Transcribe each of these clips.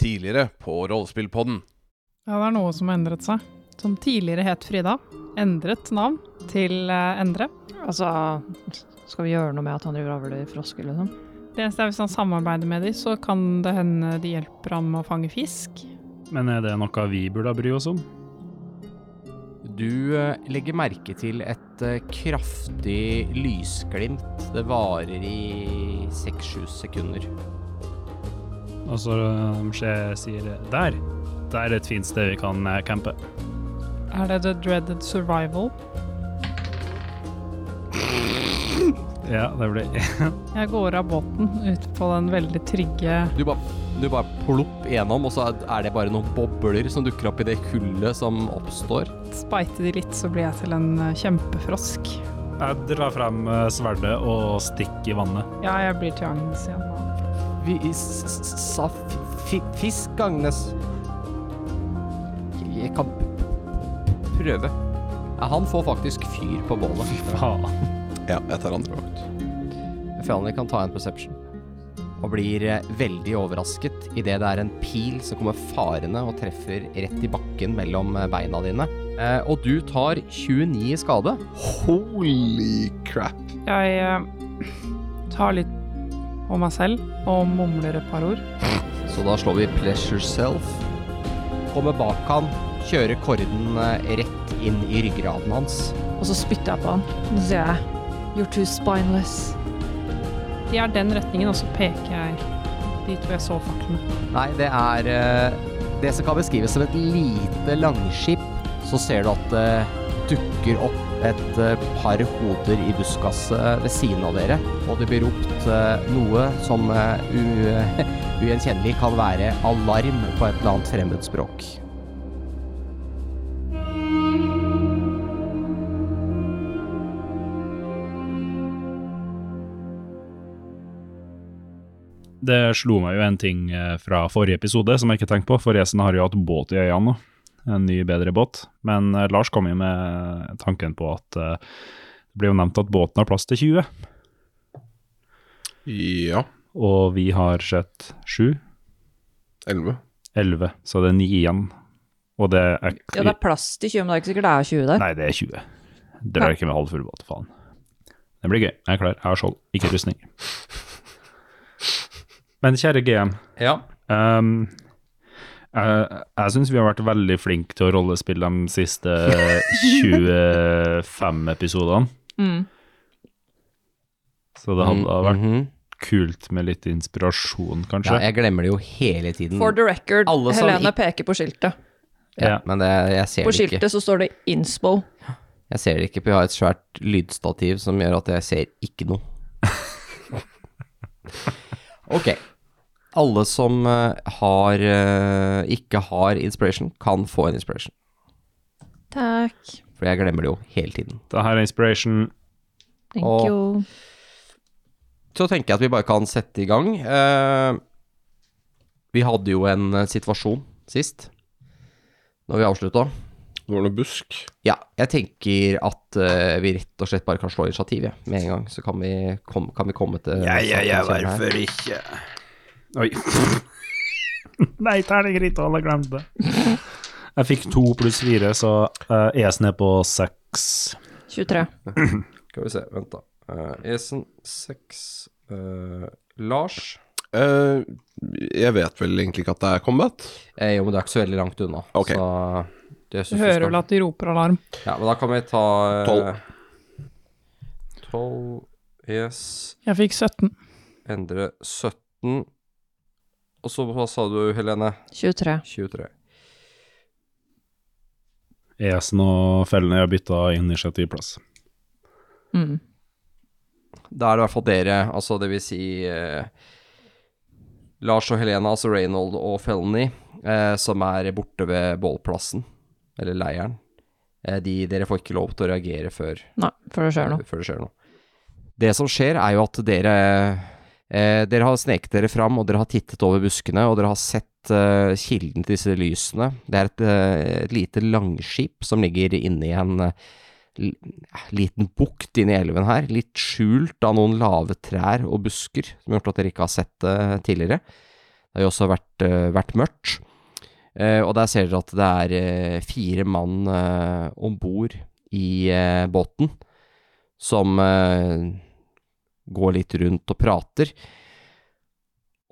tidligere på Rollespillpodden. Ja, det er noe som har endret seg. Som tidligere het Frida. Endret navn til eh, Endre. Altså, skal vi gjøre noe med at han driver og avler frosker, liksom? Det eneste er hvis han samarbeider med dem, så kan det hende de hjelper han med å fange fisk. Men er det noe vi burde bry oss om? Du eh, legger merke til et eh, kraftig lysglimt. Det varer i seks-sju sekunder. Og så um, skje- sier der. Det er et fint sted vi kan eh, campe. Er det The Dreaded Survival? Ja, det blir Jeg går av båten ut på den veldig trygge Du bare, du bare plopp gjennom, og så er- er det bare noen bobler som dukker opp i det hullet som oppstår. Speite de litt, så blir jeg til en eh, kjempefrosk. Jeg drar frem eh, sverdet og stikker i vannet. Ja, jeg blir til Agnes igjen. nå. Vi s- s- sa f- fi- fisk, Agnes. Jeg kan p- p- prøve. Ja, Han får faktisk fyr på bålet. Faen. Ja, jeg tar andre vakt. Fjellner kan ta en perception. Og blir eh, veldig overrasket idet det er en pil som kommer farende og treffer rett i bakken mellom eh, beina dine. Eh, og du tar 29 i skade. Holy crap. Jeg eh, tar litt på meg selv og mumler et par ord. Så da slår vi pleasure self. Kommer bak han, kjører korden eh, rett inn i ryggraden hans. Og så spytter jeg på han. Og så sier jeg You're too spineless. De er den retningen, og så peker jeg dit hvor jeg så faklene. Nei, det er eh, det som kan beskrives som et lite langskip. Så ser du at det dukker opp et eh, par hoder i buskaset ved siden av dere. Og det blir ropt eh, noe som eh, u- ugjenkjennelig kan være alarm på et eller annet fremmed språk. Det slo meg jo en ting eh, fra forrige episode som jeg ikke tenkte på, for Esen har jo hatt båt i øynene nå. En ny, bedre båt. Men eh, Lars kom jo med tanken på at eh, det blir jo nevnt at båten har plass til 20, Ja. og vi har sett 7, 11. 11, så det er 9 igjen. Og det er Ja, det er plass til 20, men det er ikke sikkert det er 20 der. Nei, det er 20. Drar ikke med halv full båt, faen. Det blir gøy. Jeg er klar. Jeg har skjold, ikke rustning. Men kjære GM, Ja. ehm, jeg, jeg syns vi har vært veldig flinke til å rollespille de siste 25 episodene. Så det Mm, hadde vært kult med litt inspirasjon, kanskje. ja, jeg glemmer det jo hele tiden. For the record, Alle som Helene ikke- peker på skiltet. ja, men det, jeg ser På det ikke. skiltet så står det Inspo. Jeg ser det ikke, for jeg har et svært lydstativ som gjør at jeg ser ikke noe. ok. Alle som eh, har eh, ikke har inspiration, kan få en inspiration. Takk. For jeg glemmer det jo hele tiden. Det her er inspiration. Thank Og- you. Så tenker jeg at vi bare kan sette i gang. Eh, vi hadde jo en eh, situasjon sist, når vi avslutta. Det var noe busk. Ja, jeg tenker at eh, vi rett og slett bare kan slå initiativ ja, med en gang. Så kan vi, kom, kan vi komme til saken som er her. ikke? Oi. Nei, terning rita, alle glemte det. Jeg fikk to pluss fire, så uh, esen er på seks. 23. Skal vi se, vent da. Eh, Esen 6 eh, Lars Eh, jeg vet vel egentlig ikke at det er combat. eh, Jo, men det er ikke så veldig langt unna. Ok. Så det synes Du vi hører skal- vel at de roper alarm. Ja, men da kan vi ta eh, Tolv. 12 Yes. Jeg fikk 17. Endre 17. Og så hva sa du, Helene? 23. 23. Esen og E fellene har bytta initiativplass. Mm. Da er det i hvert fall dere, altså det vil si eh, Lars og Helena, altså Reynold og Felny, eh, som er borte ved bålplassen, eh, eller leiren. Eh, de, dere får ikke lov til å reagere før, Nei, for det skjer noe. før det skjer noe. Det som skjer, er jo at dere eh, Dere har sneket dere fram, og dere har tittet over buskene, og dere har sett eh, kilden til disse lysene. Det er et, eh, et lite langskip som ligger inne i en eh, l- liten bukt inne i elven her, litt skjult av noen lave trær og busker, som har gjort at dere ikke har sett det eh, tidligere. Det har jo også vært, eh, vært mørkt. Eh, og der ser dere at det er eh, fire mann uh, om bord i eh, båten som eh, går litt rundt og prater.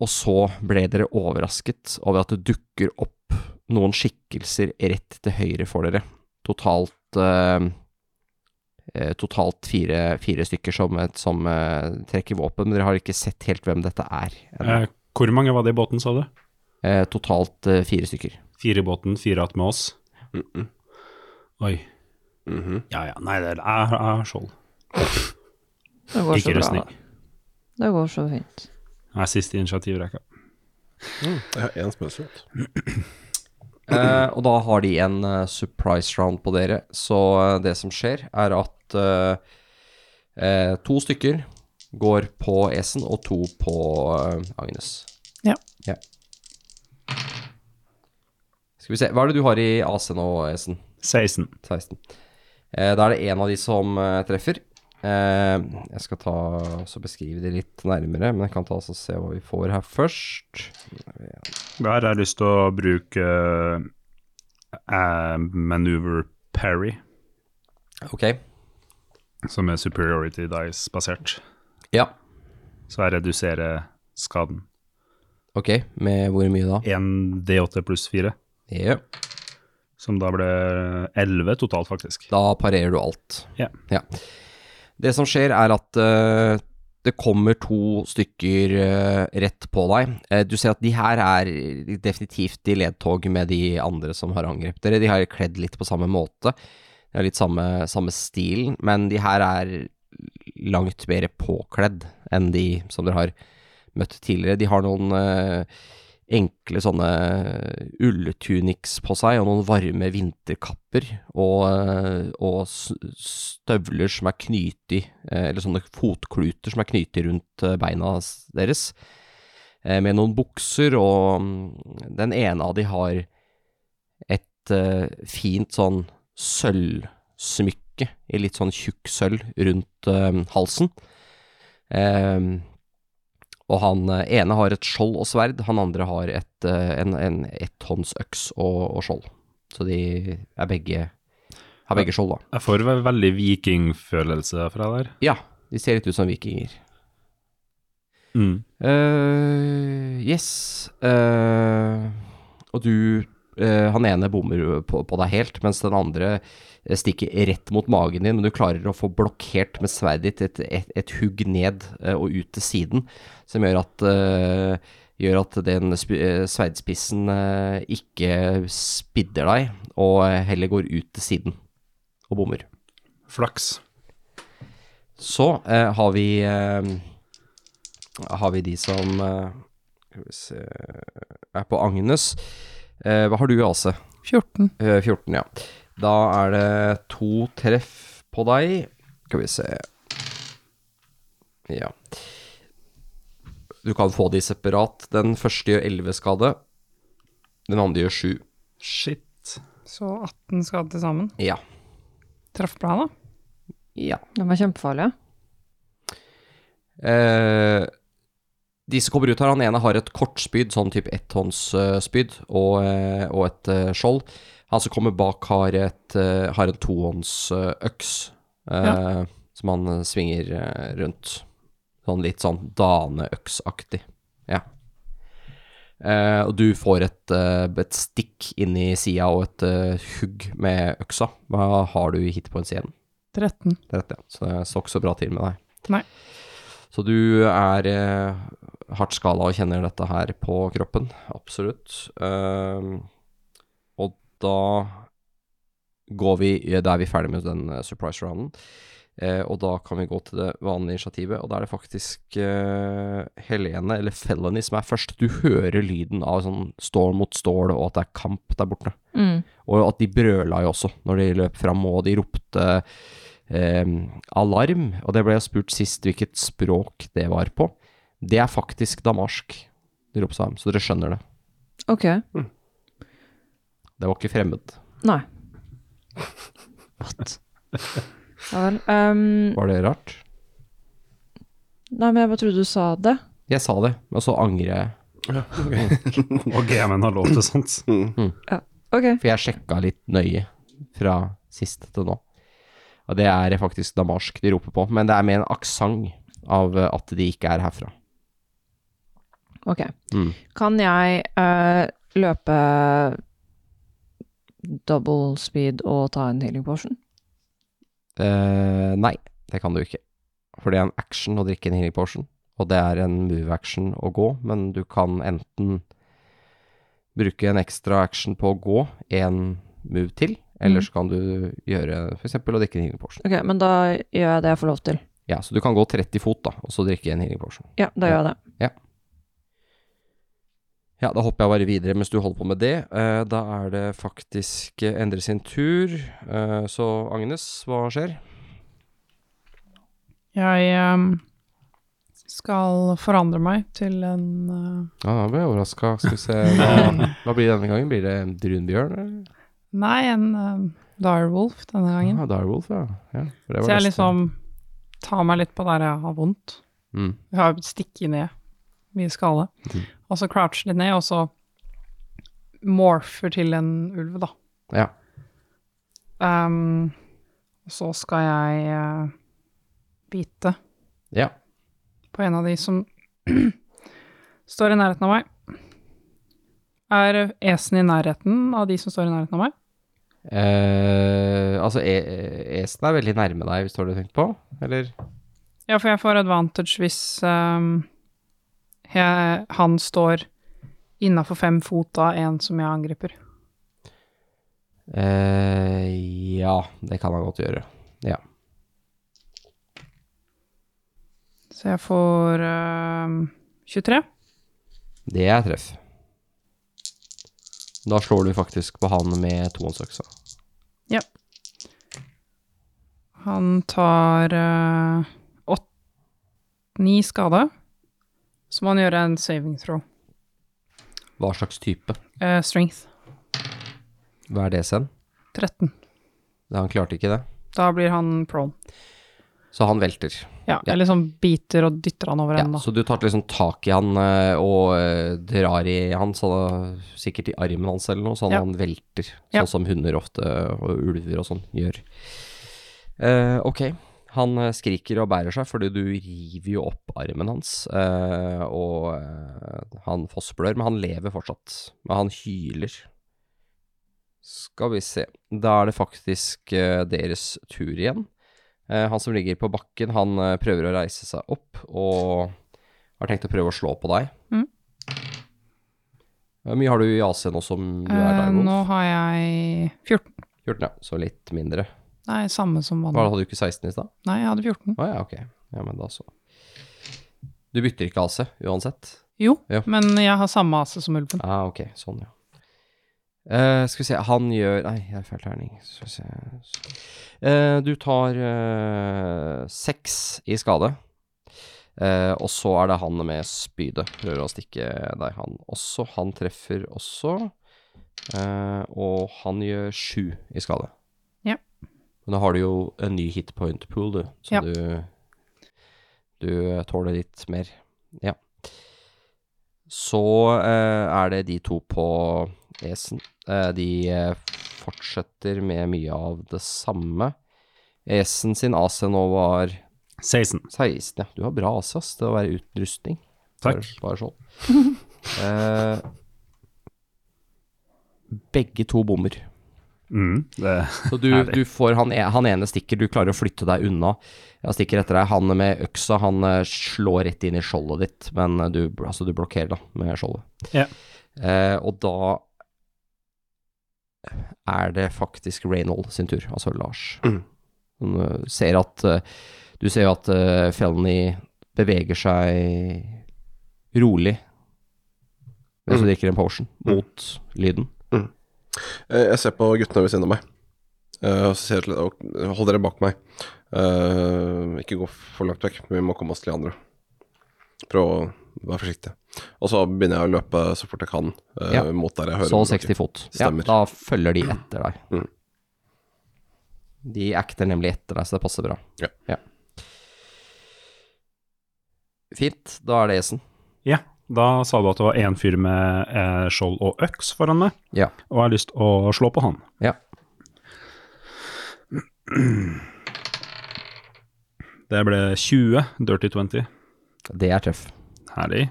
Og så ble dere overrasket over at det dukker opp noen skikkelser rett til høyre for dere. Totalt eh, eh, Totalt fire, fire stykker som, som eh, trekker våpen. men Dere har ikke sett helt hvem dette er. ennå. Eh, hvor mange var det i båten, sa du? Eh, totalt eh, fire stykker. Fire i båten, fire att med oss. Mm -mm. Oi. Mhm. Ja ja, nei, det er, jeg jeg har skjold. Det går Ikke så bra. rustning. da. Det går så fint. Jeg er sist i initiativrekka. Jeg har én spesielt. Eh, og da har de en eh, surprise round på dere. Så eh, det som skjer, er at eh, eh, to stykker går på Esen, og to på eh, Agnes. Ja. ja. Skal vi se Hva er det du har i AC nå, Esen? 16. 16. Eh, da er det en av de som eh, treffer. Eh, jeg skal ta også beskrive det litt nærmere, men jeg kan ta altså se hva vi får her først. Der har jeg lyst til å bruke eh, maneuver parry, Ok. som er superiority dice-basert. Ja. Så jeg reduserer skaden. Ok, med hvor mye da? 1 D8 pluss 4, Ja. som da ble 11 totalt, faktisk. Da parerer du alt. Ja. Det som skjer, er at eh, det kommer to stykker eh, rett på deg. Eh, du ser at de her er definitivt i ledtog med de andre som har angrepet dere. De har kledd litt på samme måte. De har litt samme, samme stilen, men de her er langt mer påkledd enn de som dere har møtt tidligere. De har noen eh, enkle sånne ulletuniks på seg, og noen varme vinterkapper, og, eh, og s- støvler som er knytig, eh, eller sånne fotkluter som er knytig rundt eh, beina s- deres, eh, med noen bukser, og mm, den ene av de har et eh, fint sånn sølvsmykke i litt sånn tjukk sølv rundt eh, halsen. Eh, og han eh, ene har et skjold og sverd, han andre har et, eh, en, en etthåndsøks og, og skjold. Så de er begge, har begge skjold, da. Jeg får vel veldig vikingfølelse fra der. Ja, de ser litt ut som vikinger. Mm. eh yes. eh, og du eh, Han ene bommer jo på, på deg helt, mens den andre eh, stikker rett mot magen din, men du klarer å få blokkert med sverdet ditt et, et, et hugg ned eh, og ut til siden, som gjør at eh, Gjør at den sp- eh, sverdspissen eh, ikke spidder deg, og eh, heller går ut til siden og bommer. Flaks. Så eh, har vi eh, Har vi de som eh, Skal vi se Er på Agnes. Eh, hva har du i AC? 14. Eh, 14, ja. Da er det to treff på deg. Skal vi se Ja. Du kan få de separat. Den første gjør 11 skade. Den andre gjør 7. Shit. Så 18 skader til sammen. Ja. Traff på han, da. ja. De var kjempefarlige. Eh, de som kommer ut her, han ene har et kortspyd, sånn type etthåndsspyd, og, eh, og et eh, skjold. Han som kommer bak, har, et, eh, har en tohåndsøks, eh, som han eh, svinger eh, rundt. Sånn litt sånn daneøksaktig. Ja. Eh, og du får et, eh, et stikk inn i sida og et eh, hugg med øksa. Hva har du i hit på en side? 13. Det er rett, ja. Så det står ikke så bra til med deg. Nei. Så du er eh, hardt skada og kjenner dette her på kroppen. Absolutt. Ehm, og da går vi Da er vi ferdig med den eh, surprise rounden. Eh, og da kan vi gå til det vanlige initiativet, og da er det faktisk eh, Helene, eller Felony, som er først. Du hører lyden av sånn stål mot stål, og at det er kamp der borte. Mm. Og at de brøla jo også når de løp fram, og de ropte eh, alarm. Og det ble jeg spurt sist hvilket språk det var på. Det er faktisk damarsk. De ropte sammen, så dere skjønner det. Ok. Det var ikke fremmed. Nei. What? Ja vel. ehm, Var det rart? nei, men jeg bare trodde du sa det. Jeg sa det, men så angrer jeg. Ja, ok. Og GM-en har lov til sånt. Ok. For jeg sjekka litt nøye fra sist til nå. Og det er faktisk damarsk de roper på, men det er med en aksent av eh, at de ikke er herfra. Ok. Mm. Kan jeg eh, løpe double speed og ta en healing portion? Eh, nei, det kan du ikke. For det er en action å drikke en healing potion, og det er en move action å gå, men du kan enten bruke en ekstra action på å gå en move til, eller Mm. så kan du gjøre f.eks. å drikke en healing potion. Ok, men da gjør jeg det jeg får lov til. Ja, så du kan gå 30 fot, da, og så drikke en healing potion. Ja, da gjør jeg det. Ja, da hopper jeg bare videre mens du holder på med det. Eh, da er det faktisk eh, Endre sin tur. Eh, så Agnes, hva skjer? Jeg ehm, skal forandre meg til en eh, Ja, da ble jeg overraska. Skal vi se hva, hva blir det denne gangen? Blir det en brunbjørn, eller? Nei, en ehm, direwolf denne gangen. Ah, Direwolf, ja. ja for det var Så jeg neste. liksom tar meg litt på der jeg har vondt. Mm. Jeg har stikket ned mye skade. Og så croucher de ned, og så morfer til en ulv, da. Ja. Ehm, og så skal jeg eh, bite ja. på en av de som står i nærheten av meg. Er esen i nærheten av de som står i nærheten av meg? Eh, altså, e Esen er veldig nærme deg, hvis det var det du tenkte på? Eller? Ja, for jeg får advantage hvis ehm, jeg, han står innafor fem fot av en som jeg angriper. Eh, ja, det kan han godt gjøre. Så jeg får ehm, 23. Det er treff. Da slår du faktisk på han med tohåndsøksa. Han tar eh, åt, ni skade. Så må han gjøre en saving throw. Hva slags type? Eh, strength Hva er det sen? 13. Han klarte ikke det, Da blir han prone. så han velter. Ja, Ja. Eller sånn biter og dytter han over Ja, ende. så du tar liksom tak i han eh, og eh, drar i han, så sikkert i armen hans eller noe, sånn Ja. han velter. Sånn Ja. som hunder ofte og ulver og sånn gjør. Eh, ok, han eh, skriker og bærer seg fordi du river jo opp armen hans, eh, og eh, han fossblør, men han lever fortsatt. Men han hyler. Skal vi se, da er det faktisk eh, deres tur igjen. Eh, han som ligger på bakken, han eh, prøver å reise seg opp og har tenkt å prøve å slå på deg. Mm. Hvor mye har du i AC nå som du er Eh, der, nå Wolf? har jeg 14. 14, ja. Så litt mindre. Nei, samme som Hva, vanlig. Hadde du ikke 16 i stad? Nei, jeg hadde 14. Å ja, ok. Ja, men da så. Du bytter ikke AC uansett? Jo, Ja. men jeg har samme AC som ulven. Ah, ok. Sånn, ja. Eh, skal vi se, han gjør Nei, det er feil terning. Skal vi se Eh, Du tar eh, seks i skade. Eh, og så er det han med spydet. Prøver å stikke deg, han også. Han treffer også. Eh, og han gjør sju i skade. Ja. Men da har du jo en ny hit point pool, du. Så Ja. du Du tåler litt mer. Ja. Så eh, er det de to på Esen. Eh, de eh, fortsetter med mye av det samme. Esen sin AC nå var 16. 16, ja. Du har bra AC, ass, til å være uten rustning. Takk. Bare, bare sånn. eh, begge to bommer. Mm, det, Så du, Herlig. du får han, e- han ene stikker, du klarer å flytte deg unna. Han stikker etter deg. Han med øksa, han eh, slår rett inn i skjoldet ditt, men eh, du, altså, du blokkerer da med skjoldet. Ja. Eh, og da er det faktisk Reynold sin tur, altså Lars. Mm. Han eh, ser at eh, Du ser jo at uh, Felny beveger seg rolig mens du Mm. drikker en potion, mot lyden. Eh, Jeg ser på guttene ved siden av meg. Eh, Og så sier jeg til dem Hold dere bak meg. Eh, ikke gå for langt vekk, vi må komme oss til de andre. Prøv å være forsiktig. Og så begynner jeg å løpe så fort jeg kan eh, Ja. mot der jeg hører Sånn dere. 60 fot. Stemmer. Ja, da følger de etter deg. Mm. De acter nemlig etter deg, så det passer bra. Ja. Fint, da er det Esen. Ja. Da sa du at det var én fyr med eh, skjold og øks foran meg, Ja. og jeg har lyst å slå på han. Ja. Det ble 20, dirty 20. Det er tøff. Herlig.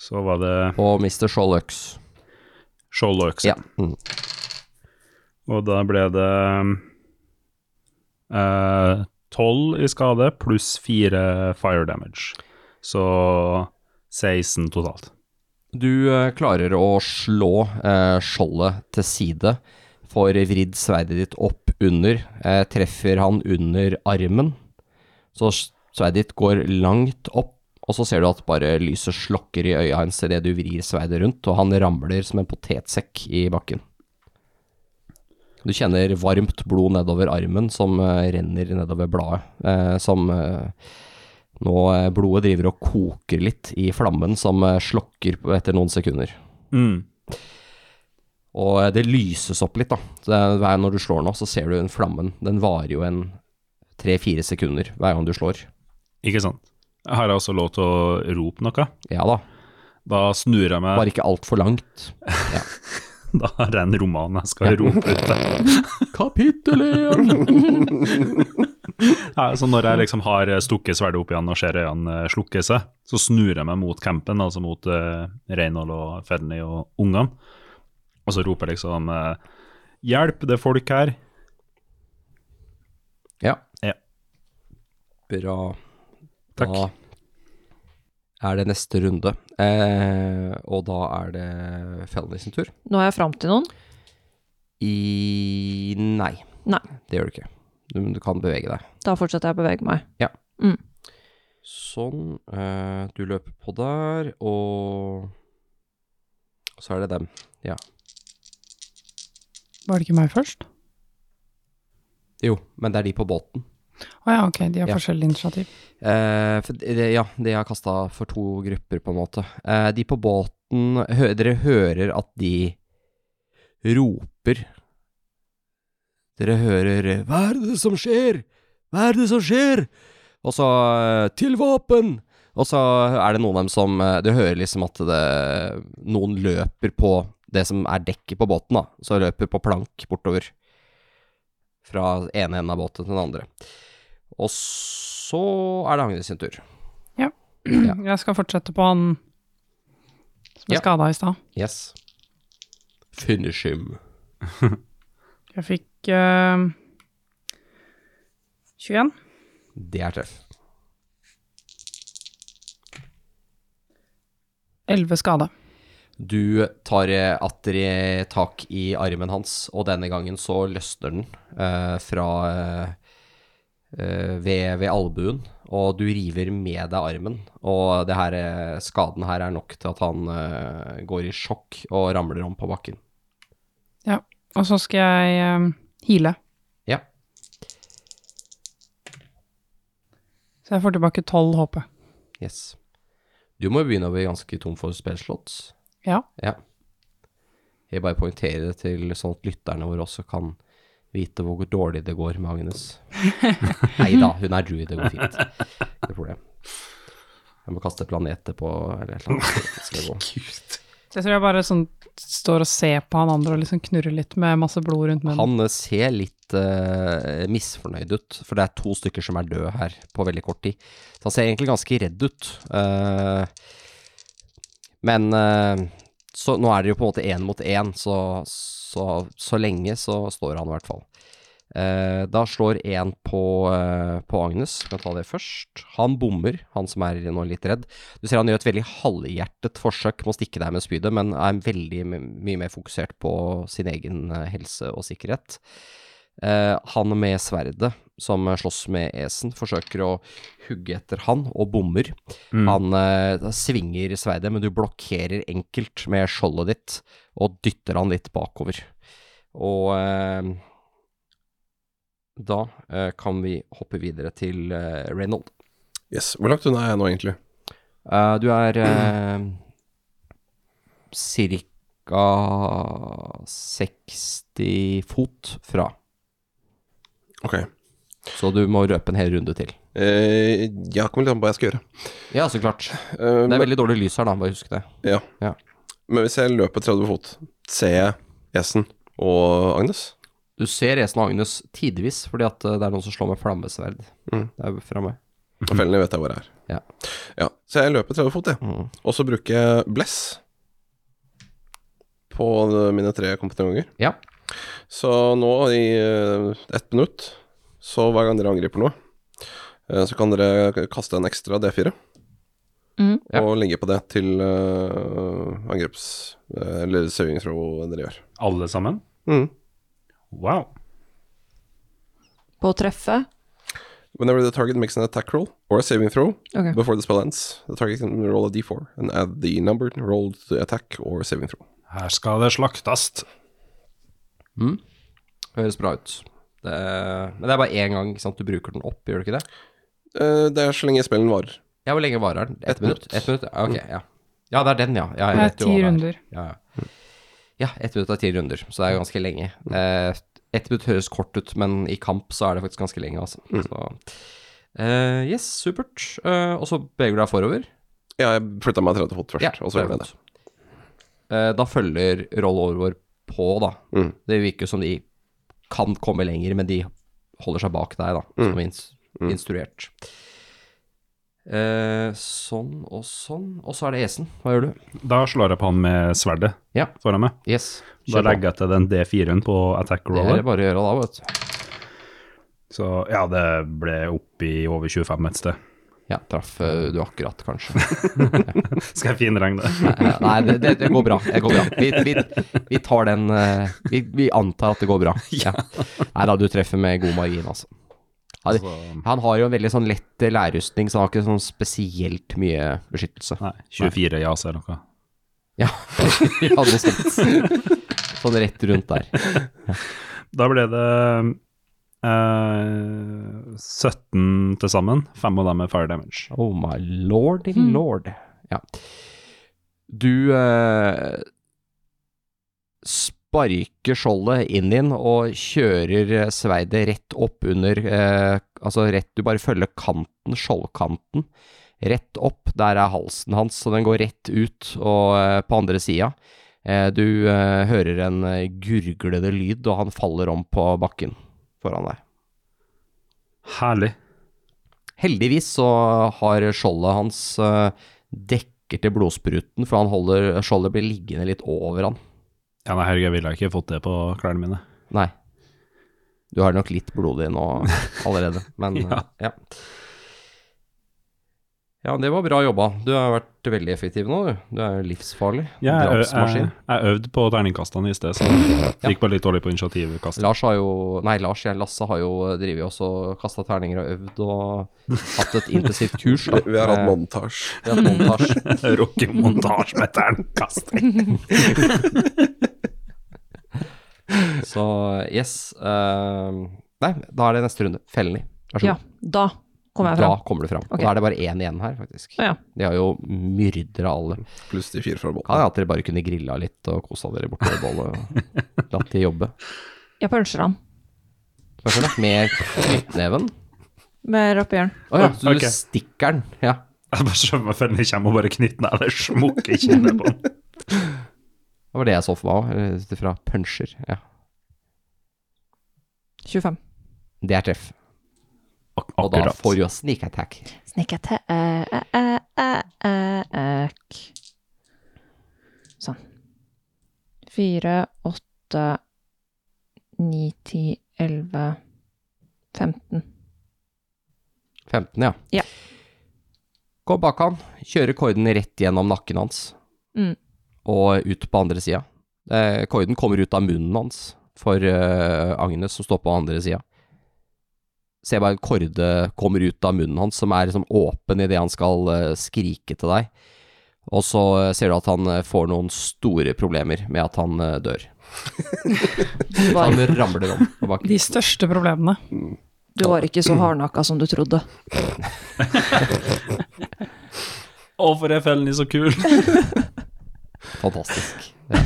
Så var det Og Mr. Sholux. skjold og øks. Ja. Mm. Og da ble det eh, 12 i skade pluss 4 fire damage. Så 16 totalt. Du eh, klarer å slå eh, skjoldet til side, får vridd sverdet ditt opp under, eh, treffer han under armen, så s- sverdet ditt går langt opp, og så ser du at bare lyset slokker i øya hans idet du vrir sverdet rundt, og han ramler som en potetsekk i bakken. Du kjenner varmt blod nedover armen som eh, renner nedover bladet, eh, som eh, nå eh, blodet driver og koker litt i flammen som eh, slokker på- etter noen sekunder. Mm. Og eh, det lyses opp litt, da. Så det er- hver når du slår nå, så ser du den flammen. Den varer jo en tre-fire sekunder hver gang du slår. Ikke sant? Jeg har også lov til å rope noe. Ja da, Da snur jeg meg bare ikke altfor langt. Da har jeg en roman jeg skal rope ut. Kapittel én! Ja, så når jeg liksom har stukket sverdet opp igjen og ser øynene eh, slukke seg, så snur jeg meg mot campen, altså mot uh, Reinhold og Fenny og ungene, og så roper jeg liksom eh, Hjelp, det er folk her. Ja. Ja. Bra. Takk. Da er det neste runde, eh, og da er det Felny sin tur. Nå er jeg fram til noen. I Nei. Nei. Det gjør du ikke. Du, men du kan bevege deg. Da fortsetter jeg å bevege meg. Sånn. eh, du løper på der, og og så er det dem. Var det ikke meg først? Jo, men det er de på båten. Å ja, ok, de har Ja. forskjellige initiativ. Eh, for det, ja, de har kasta for to grupper, på en måte. Eh, de på båten hø, Dere hører at de roper. Dere hører 'Hva er det som skjer? Hva er det som skjer?' Og så eh, 'Til våpen!' Og så er det noen av dem som eh, Du hører liksom at det, noen løper på det som er dekket på båten, da. Så løper på plank bortover. Fra ene enden av båten til den andre. Og så er det Agnes sin tur. Ja. Jeg skal fortsette på han som Ja. er skada i stad. Yes. Finish him. Jeg fikk eh, 21. Det er treff. 11 skade. Du tar eh, atter i tak i armen hans, og denne gangen så løsner den eh, fra eh, eh, ved, ved albuen, og du river med deg armen. Og det her, eh, skaden her er nok til at han eh, går i sjokk og ramler om på bakken. Og så skal jeg eh, heale. Ja. Så jeg får tilbake 12 HP. Yes. Du må jo begynne å bli ganske tom for spillslott. Ja. Ja. Jeg bare poengterer det til sånn at lytterne våre også kan vite hvor dårlig det går med Agnes. Nei da, hun er druid, det går fint. Det er problem. Jeg må kaste planeter på eller et eller annet. Skal det gå. Så jeg tror jeg bare sånn står og ser på han andre og liksom knurrer litt med masse blod rundt munnen. Han eh, ser litt eh, misfornøyd ut, for det er to stykker som er døde her på veldig kort tid. Så han ser egentlig ganske redd ut. Eh, men eh, så nå er det jo på en måte én mot én, så, så, så lenge så står han i hvert fall. Eh, da slår én på, eh, på Agnes, vi kan ta det først. Han bommer, han som er nå litt redd. Du ser han gjør et veldig halvhjertet forsøk med å stikke deg med spydet, men er veldig my- mye mer fokusert på sin egen eh, helse og sikkerhet. Eh, han med sverdet, som slåss med esen, forsøker å hugge etter han, og bommer. Mm. Han eh, svinger sverdet, men du blokkerer enkelt med skjoldet ditt, og dytter han litt bakover. Og eh, da eh, kan vi hoppe videre til eh, Reynold. Yes. Hvor langt unna er jeg nå, egentlig? Eh, du er uh, cirka 60 fot fra. Ok. Så du må røpe en hel runde til. Eh, jeg kommer litt an på hva jeg skal gjøre. Ja, så klart. Eh, Det men, er veldig dårlig lys her, da. Bare husk det. men hvis jeg løper 30 fot, ser jeg Esen og Agnes? Du ser Esen og Agnes tidvis, fordi at eh, det er noen som slår med flammesverd Mm. der framme. Og fellene vet jeg hvor det er. Mhm. Ja. Ja, Så jeg løper 30 fot, jeg. Mm. Og så bruker jeg bless på mine tre kompetanseganger. Ja. Så nå i eh, ett minutt, så hver gang dere angriper noe, eh, så kan dere kaste en ekstra D4 Mhm. Ja. og legge på det til eh, angreps... eh, Eller saving throw dere gjør. Alle sammen? Mm. Wow. På å treffe? Whenever the target makes an attack roll or a saving throw Ok. before the spell ends, the target can roll a d4 and add the number rolled to the attack or saving throw. Her skal det slaktast. Mm. Høres bra ut. Det, men det er bare én gang ikke sant? du bruker den opp, gjør du ikke det? Eh, det er så lenge spellen varer. Ja, Hvor lenge varer den? Ett Ett minutt? minutt. Ett minutt? Ja, ok, ja. ja, det er den, ja. ja jeg Det er vet jo hva ti det runder. Ja, ja. ja, ett minutt er ti runder, så det er jo ganske lenge. Eh, ett minutt høres kort ut, men i kamp så er det faktisk ganske lenge, altså. Så, eh, yes, supert. Eh, og så beveger du deg forover. Ja, jeg flytta meg 30 fot først, og så gjorde jeg det. Eh, da følger roll over vår på, da. Mm. Det virker som de kan komme lenger, men de holder seg bak deg, da, Mm. som ins Mm. instruert. Eh, sånn og sånn. Og så er det Esen. Hva gjør du? Da slår jeg på han med sverdet Ja. foran meg. Yes. Da kjør på. legger jeg til den D4-en på attack Det er roller. det bare å gjøre da, vet du. Så ja, det ble opp i over 25 et sted. Ja, traff eh, du akkurat, kanskje. Skal jeg finregne det? Eh, Nei, det, det, det går bra. Det går bra. Vi, vi, vi tar den eh, vi, vi antar at det går bra. Ja. Nei da, du treffer med god margin, altså. Ja, det, Så- han har jo en veldig sånn lett eh, lærrustning, så han har ikke sånn spesielt mye beskyttelse. Nei, 24 ja, så er det noe. Ja, ja noe sånt. Sånn rett rundt der. Da ble det eh, 17 til sammen. Fem av dem er fire damage. Oh my lordy lord. Ja. Du eh, sparker skjoldet inn din og kjører eh, sveidet rett opp under eh, Altså rett Du bare følger kanten, skjoldkanten, rett opp. Der er halsen hans, så den går rett ut og eh, på andre sida. Eh, du eh, hører en eh, gurglende lyd, og han faller om på bakken foran deg. Herlig. Heldigvis så har skjoldet hans eh, dekker til blodspruten, for han holder, skjoldet blir liggende litt over han. Ja, nei, herregud, jeg ville ikke fått det på klærne mine. Nei. Du har nok litt blodig nå allerede, men eh, Ja. ja. Ja, det var bra jobba. Du har vært veldig effektiv nå, du. Du er jo livsfarlig. Ja, jeg, ø- jeg, Drapsmaskin. jeg øvde på terningkastene i sted, så gikk bare litt dårlig på initiativkastet. Lars har jo Nei, Lars, jeg, Lasse har jo drevet oss og kasta terninger og øvd og hatt et intensivt kurs. da. Vi, vi har hatt Eh, montasje. vi har hatt montasje. Rockemontasje med terningkasting! Så yes. ehm, nei, da er det neste runde. Felny. Vær så Ja, god. da kommer jeg da fram. kommer du fram. Ok. Og da er det bare én igjen her, faktisk. Å ja. De har jo myrdra alle. Pluss de fire fra båten. Kan hende at dere bare kunne grilla litt og kosa dere borte ved bålet og latt de jobbe. Jeg puncher han Hva skjer da? Med knyttneven? med rapphjern. Å ja, så du Ok. stikker den. Ja. Jeg bare skjønner meg før den kommer og bare knytter ned eller smukker kinnet på den. Det var det jeg så for meg òg, ut ifra puncher. Ja. 25. Det er treff. Ak Og da akkurat. får du jo sneak attack. Snikker til eh, eh, eh, eh, eh, ek. Sånn. Fire, åtte, ni, ti, elleve, femten. 15, ja. Ja. Gå bak han, kjører korden rett gjennom nakken hans, Mm. og ut på andre sida. Eh, korden kommer ut av munnen hans for eh, Agnes, som står på andre sida. Ser bare en korde kommer ut av munnen hans, som er liksom åpen idet han skal eh, skrike til deg. Og så eh, ser du at han eh, får noen store problemer med at han eh, dør. Du var, Han ramler om på bakken. De største problemene. Mm. du var ikke så hardnakka som du trodde. Å, for er fellen i så kul! Fantastisk. Ja.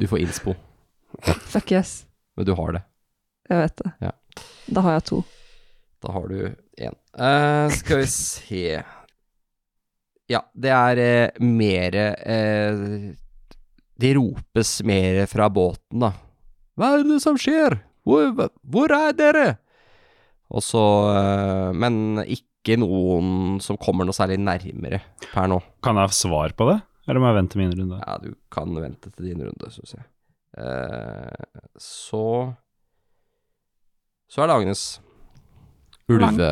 Du får innspo, Fuck yes. men du har det. Jeg vet det. Ja. Da har jeg to. Da har du én. Eh, skal vi se Ja, det er eh, mer eh, Det ropes mer fra båten, da. Hva er det som skjer? Hvor, hvor er dere? Og så eh, Men ikke noen som kommer noe særlig nærmere per nå. Kan jeg ha svar på det, eller må jeg vente min runde? Ja, du kan vente til din runde, syns jeg. Eh, så Så er det Agnes. Ulve.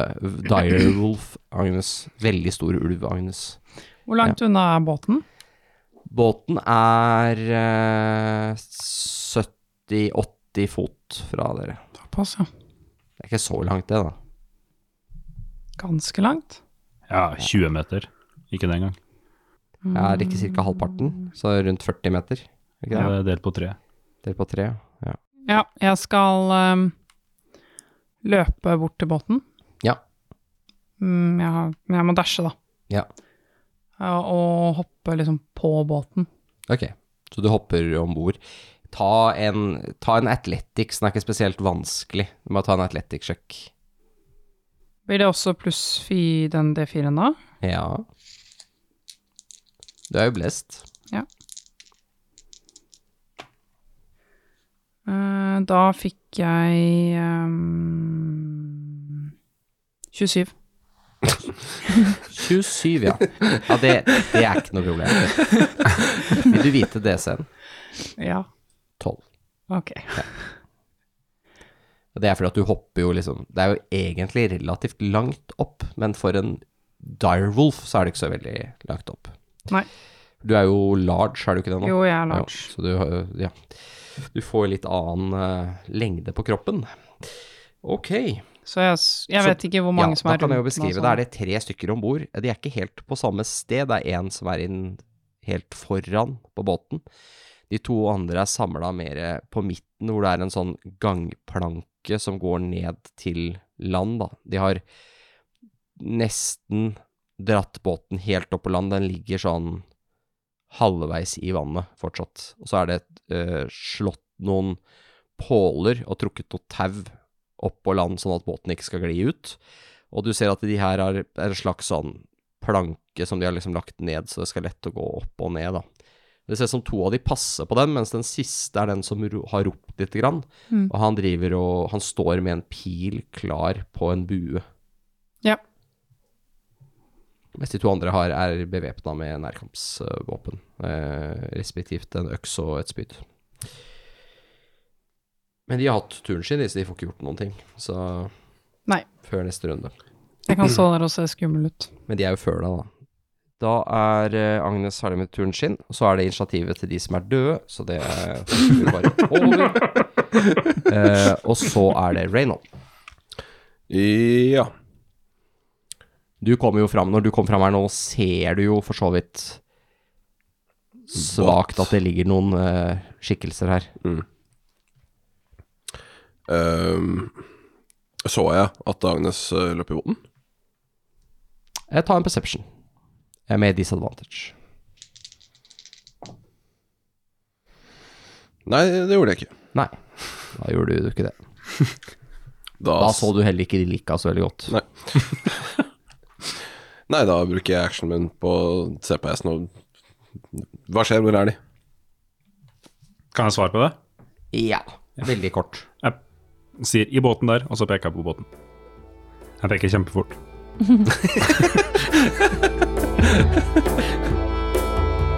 Direwolf Agnes. Veldig stor ulv, Agnes. Hvor langt unna er båten? Båten er eh, 70-80 fot fra dere. Såpass, ja. Det er ikke så langt, det, da. Ganske langt. Ja, 20 meter. Ikke den gang. Mm. Jeg er ikke ca. halvparten, så rundt 40 meter. Er Ikke det? Det er Delt på tre. Delt på tre. Ja. Ja, jeg skal ehm, løpe bort til båten. Ja. Mm, jeg, har- men jeg må dashe, da. Ja. Ja, og hoppe liksom på båten. Ok, så du hopper om bord. Ta en, ta en athletics, den er ikke spesielt vanskelig. Du må ta en athletics-sjekk. Blir det også pluss fi den D4-en da? Ja. Du er jo blest. Eh, da fikk jeg ehm, 27. 27, ja. Ja, det, det er ikke noe problem. Vil du vite DC-en? Ja, 12. ok. Og Det er fordi at du hopper jo liksom Det er jo egentlig relativt langt opp, men for en direwolf så er det ikke så veldig langt opp. Nei. Du er jo large, er du ikke det nå? Jo, jeg er Ja, large. så du, har- ja. du får litt annen eh, lengde på kroppen. Ok. Så jeg, s- jeg Så- vet ikke hvor mange ja, som er da kan jeg jo rundt beskrive. Da nå, sånn. er det tre stykker om bord. De er ikke helt på samme sted. Det er én som er inn helt foran på båten. De to andre er samla mer på midten, hvor det er en sånn gangplanke som går ned til land, da. De har nesten dratt båten helt opp på land. Den ligger sånn halvveis i vannet fortsatt. Og så er det eh, slått noen påler og trukket noe tau opp på land, sånn at båten ikke skal gli ut. Og du ser at de her har en slags sånn planke som de har liksom lagt ned, så det skal lett å gå opp og ned, da. Det ser ut som to av de passer på den, mens den siste er den som ro har ropt lite grann. Mm. Og han driver og Han står med en pil klar på en bue. Ja. Mens de to andre har, er bevæpna med nærkampsvåpen, eh, respektivt en øks og et spyd. Men de har hatt turen sin, så de får ikke gjort noen ting. Så Nei. Før neste runde. Jeg kan stå der og se skummel ut. Men de er jo før deg, da. Da er eh, Agnes ferdig med turen sin, og så er det initiativet til de som er døde, så det er hopper bare over. Eh, og så er det Reynold. Ja. Du kommer jo fram, når du kommer fram her nå, ser du jo for så vidt svakt at det ligger noen eh, skikkelser her. Ehm, så jeg at Agnes eh, løp i båten? Eh, ta en perception. Jeg er med disadvantage. Nei, det gjorde jeg ikke. Nei, da gjorde du jo ikke det. Da, Da så du heller ikke de lika så veldig godt. Nei. Nei, da bruker jeg actionen min på CPS-en og Hva skjer, hvor er de? Kan jeg svare på det? Ja, veldig kort. Jeg sier 'i båten der', og så peker jeg på båten. Jeg peker kjempefort.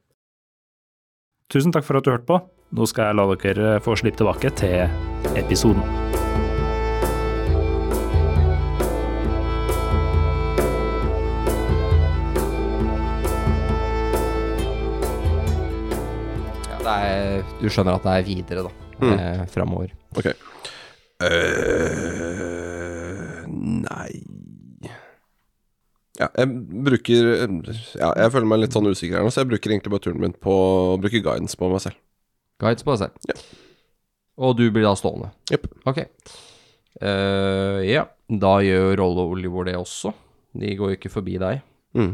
Tusen takk for at du hørte på. Nå skal jeg la dere få slippe tilbake til episoden. Det er, du skjønner at det er videre, da. Mm. Eh, Framover. Ok. Eh, nei Ja, jeg bruker ja, Jeg føler meg litt sånn usikker her nå, så jeg bruker egentlig bare turen min på å bruke guidance på meg selv. Guides på seg. Ja. Og du blir da stående. Jepp. Ok. Eh, ja, da gjør Rollo og Oliver det også. De går jo ikke forbi deg. Mm.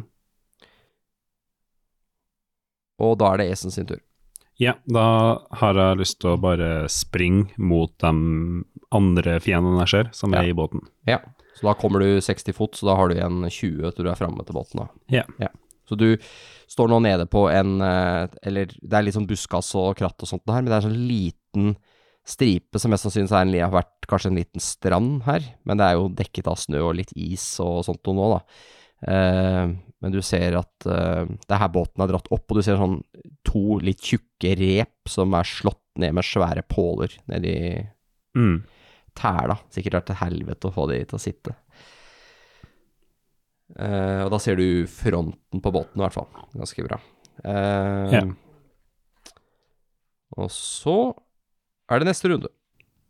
Og da er det Esen sin tur. Ja, da har jeg lyst til å bare springe mot de andre fiendene jeg ser, som er Ja. i båten. Ja. Så da kommer du 60 fot, så da har du igjen 20 til du er framme til båten. da. Ja. Så du står nå nede på en eh, Eller det er litt sånn buskas og kratt og sånt her, men det er en sånn liten stripe som mest sannsynlig er en, har vært kanskje en liten strand her. Men det er jo dekket av snø og litt is og sånt noe nå, da. Eh, men du ser at eh, det er her båten er dratt opp, og du ser sånn to litt tjukke rep som er slått ned med svære påler nedi Mm. tæla. Sikkert vært til helvete å få de til å sitte. Eh, og da ser du fronten på båten, i hvert fall. Ganske bra. Eh, Ja. Og så er det neste runde.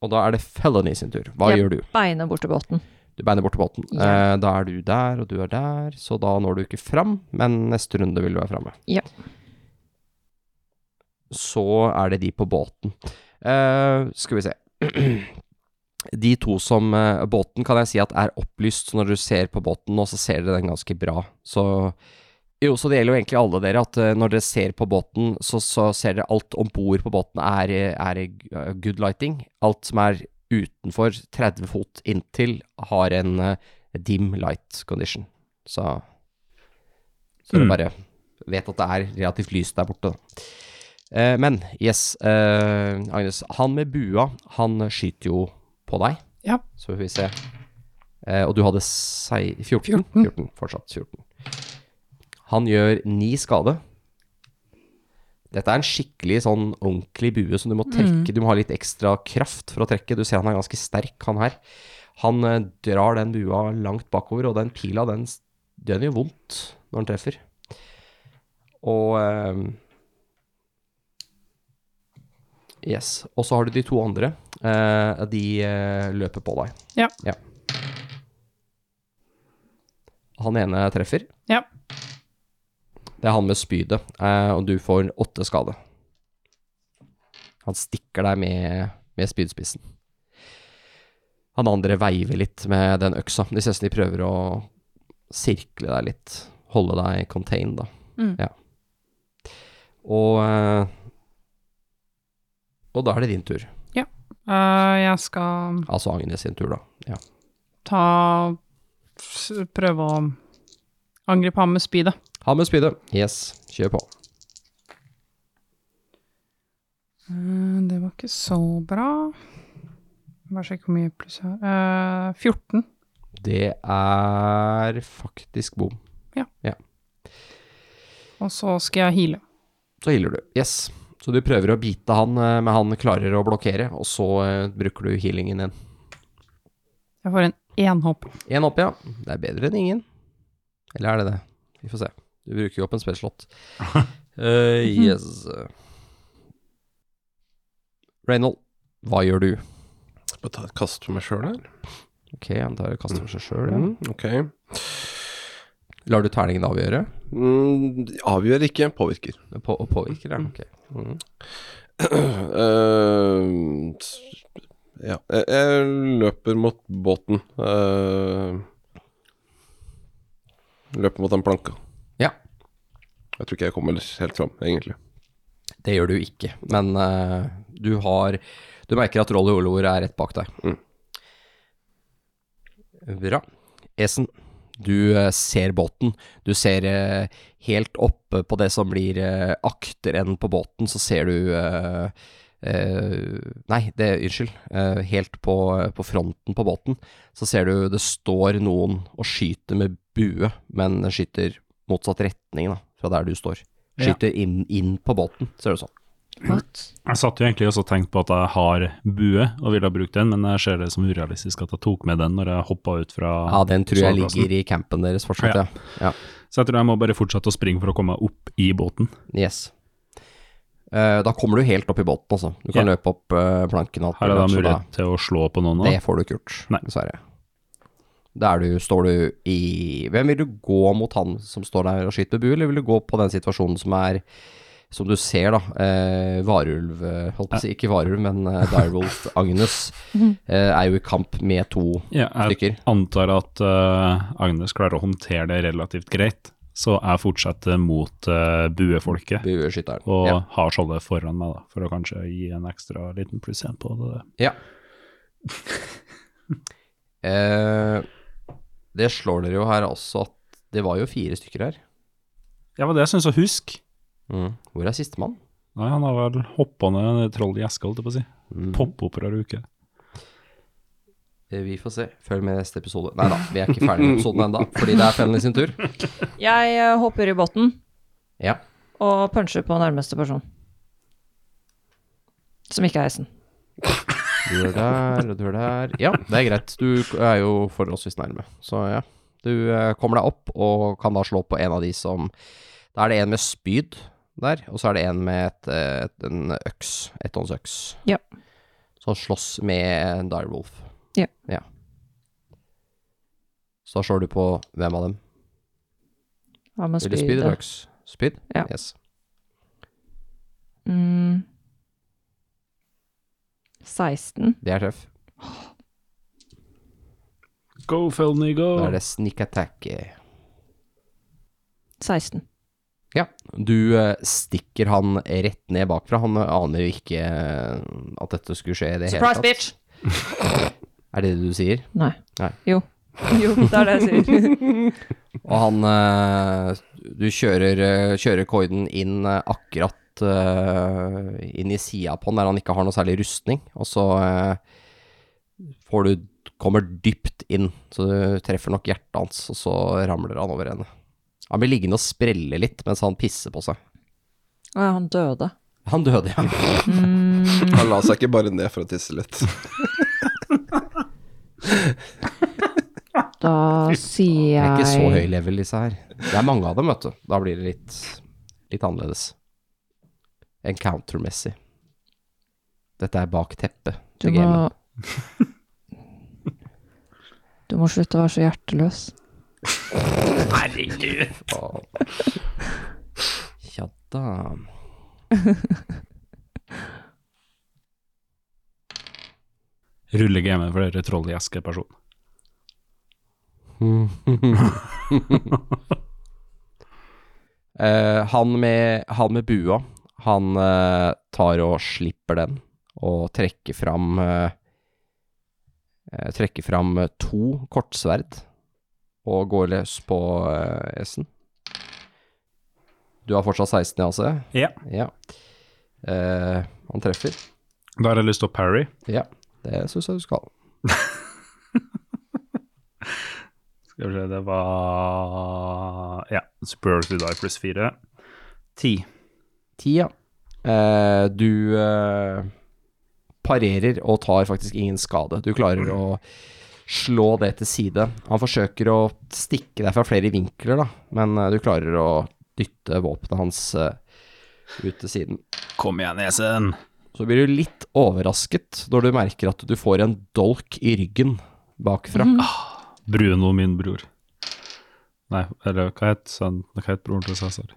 Og da er det Felony sin tur. Hva Ja. gjør du? Beina bort til båten. Du beiner bort til båten. Ja. Eh, da er du der, og du er der, så da når du ikke fram, men neste runde vil du være framme. Ja. Så er det de på båten. Eh, skal vi se. De to som eh, Båten kan jeg si at er opplyst, så når du ser på båten nå, så ser dere den ganske bra. Så Jo, så det gjelder jo egentlig alle dere, at eh, når dere ser på båten, så, så ser dere alt om bord på båten er, er eh, good lighting. Alt som er utenfor 30 fot inntil har en eh, dim light condition. Så Så dere Mm. bare vet at det er relativt lyst der borte, da. Eh, men yes, eh, Agnes. Han med bua, han skyter jo på deg. Ja. Så får vi se. Eh, og du hadde sei, 14, 14. 14. Fortsatt 14. Han gjør ni skade. Dette er en skikkelig sånn ordentlig bue som du må trekke. Du må ha litt ekstra kraft for å trekke. Du ser han er ganske sterk, han her. Han eh, drar den bua langt bakover, og den pila, den, s- den gjør vondt når den treffer. Og eh, Yes. Og så har du de to andre. Eh, de eh, løper på deg. Ja. Han ene treffer. Ja. Det er han med spydet, eh, og du får åtte skade. Han stikker deg med, med spydspissen. Han andre veiver litt med den øksa. De ser ut som de prøver å sirkle deg litt. Holde deg contained, da. Mm. Ja. Og eh, Og da er det din tur. Eh, jeg skal Altså Agnes sin tur, da. Ja. ta s- Prøve å angripe ham med spydet. Han med spydet. Yes, kjør på. Eh, Det var ikke så bra. Bare sjekke hvor mye pluss jeg har. Eh, 14. Det er faktisk bom. Og så skal jeg heale. Så healer du. Yes. Så du prøver å bite han, eh, men han klarer å blokkere, og så eh, bruker du healingen din. Jeg får en enhopp. Én opp, ja. Det er bedre enn ingen. Eller er det det? Vi får se. Du bruker jo opp en spillslott. Eh, yes. Reynold, hva gjør du? Bare ta et kast for meg sjøl her. Ok, han tar og kaster for seg sjøl, ja. Mm, ok. Lar du terningen avgjøre? Mm, avgjør ikke, påvirker. På, og påvirker, ja. Ok. Mm. Eh, s- ja. Jeg, jeg løper mot båten. Eh, løper mot den planka. Ja. Jeg tror ikke jeg kommer helt fram, egentlig. Det gjør du ikke, men eh, du har Du merker at Rolly Olor er rett bak deg. Mm. Bra. Esen, Du eh, ser båten. Du ser eh, helt oppe på det som blir eh, akterenden på båten, så ser du eh, eh, Nei, det, unnskyld. Eh, helt på, på fronten på båten så ser du det står noen og skyter med bue, men skyter motsatt retning da, fra der du står. Ja. Skyter inn, inn på båten, ser det ut som. What? Jeg satt jo egentlig også og tenkte på at jeg har bue og ville ha brukt den, men jeg ser det som urealistisk at jeg tok med den når jeg hoppa ut fra Ja, den tror jeg soveplassen. ligger i campen deres fortsatt, Ja. ja. Så jeg tror jeg må bare fortsette å springe for å komme meg opp i båten. Yes. Eh, da kommer du helt opp i båten, altså. Du kan Ja. løpe opp eh, planken. og alt Her er det mulig, så da- mulighet til å slå på noen nå. Det får du ikke gjort, Nei. dessverre. Da er du, står du i Hvem vil du gå mot han som står der og skyter bu, eller vil du gå på den situasjonen som er som du ser, da. Eh, varulv eh, Holdt på å si, ikke varulv, men eh, Direwolf Agnes eh, er jo i kamp med to Ja, jeg stykker. antar at eh, Agnes klarer å håndtere det relativt greit, så jeg fortsetter mot eh, buefolket. Bueskytteren. Og Ja. har skjoldet foran meg, da, for å kanskje gi en ekstra liten pluss igjen på det. ja. eh, det slår dere jo her også at det var jo fire stykker her. Ja, det var det jeg syntes å huske. Hvor er sistemann? Nei, han har vel hoppa ned en troll i eska, holdt jeg på å si. Mm. Popoperaruke. Eh, Vi får se. Følg med i neste episode. Nei da, vi er ikke ferdig med episoden ennå, fordi det er Fennelly sin tur. Jeg eh, hopper i båten Ja. og puncher på nærmeste person. Som ikke er heisen. Du er der, og du er der. Ja, det er greit. Du er jo forholdsvis nærme, så ja. Du eh, kommer deg opp og kan da slå på en av de som Da er det en med spyd der, og så er det en med et, eh, et, en øks. Etthåndsøks. Ja. Som slåss med en direwolf. Ja. ja. Så da slår du på hvem av dem? Hva med Vil du spyd spyd? eller da? øks? Spyd? Ja. Yes. Mm. 16. Det er treff. Go, Felny, go! Da er det sneak attack. eh. 16. Du eh, stikker han rett ned bakfra. Han aner jo ikke eh, at dette skulle skje i det hele Surprise, tatt. bitch! Er det det du sier? Nei. Nei. Jo. Jo, det er det jeg sier. Og han eh, Du kjører, eh, kjører koiden inn eh, akkurat eh, inn i sida på han, der han ikke har noe særlig rustning. Og så eh, får du Kommer dypt inn, så du treffer nok hjertet hans, og så ramler han over ende. Han blir liggende og sprelle litt mens han pisser på seg. Å, ja, han døde. Han døde, ja. Han la seg ikke bare ned for å tisse litt. Da sier Det jeg er ikke så høy level, disse her. Det er mange av dem, vet du. Da blir det litt, litt annerledes. Encounter-messig. Dette er bak teppet Du til må, gamet. du må slutte å være så hjerteløs. Å. Ja da. Rulle gamet for dere troll i eske-person. Eh, han, med, han med bua, han eh, tar og slipper den, og trekker fram eh, eh, Trekker fram eh, to kortsverd, og går løs på eh, S-en. Du har fortsatt 16 i AC? Ja. ja. Eh, han treffer. Da har jeg lyst til å parry. Ja, det syns jeg du skal. Skal vi se, det var Ja, Superior to Die pluss fire. Ti. Tia. Eh, du eh, parerer og tar faktisk ingen skade. Du klarer å slå det til side. Han forsøker å stikke deg fra flere vinkler, da, men eh, du klarer å dytte våpenet hans eh, ut til siden. Kom igjen, Esen! Så blir du litt overrasket når du merker at du får en dolk i ryggen bakfra. Bruno, min bror. Nei, eller hva het han- hva het broren til Cæsar?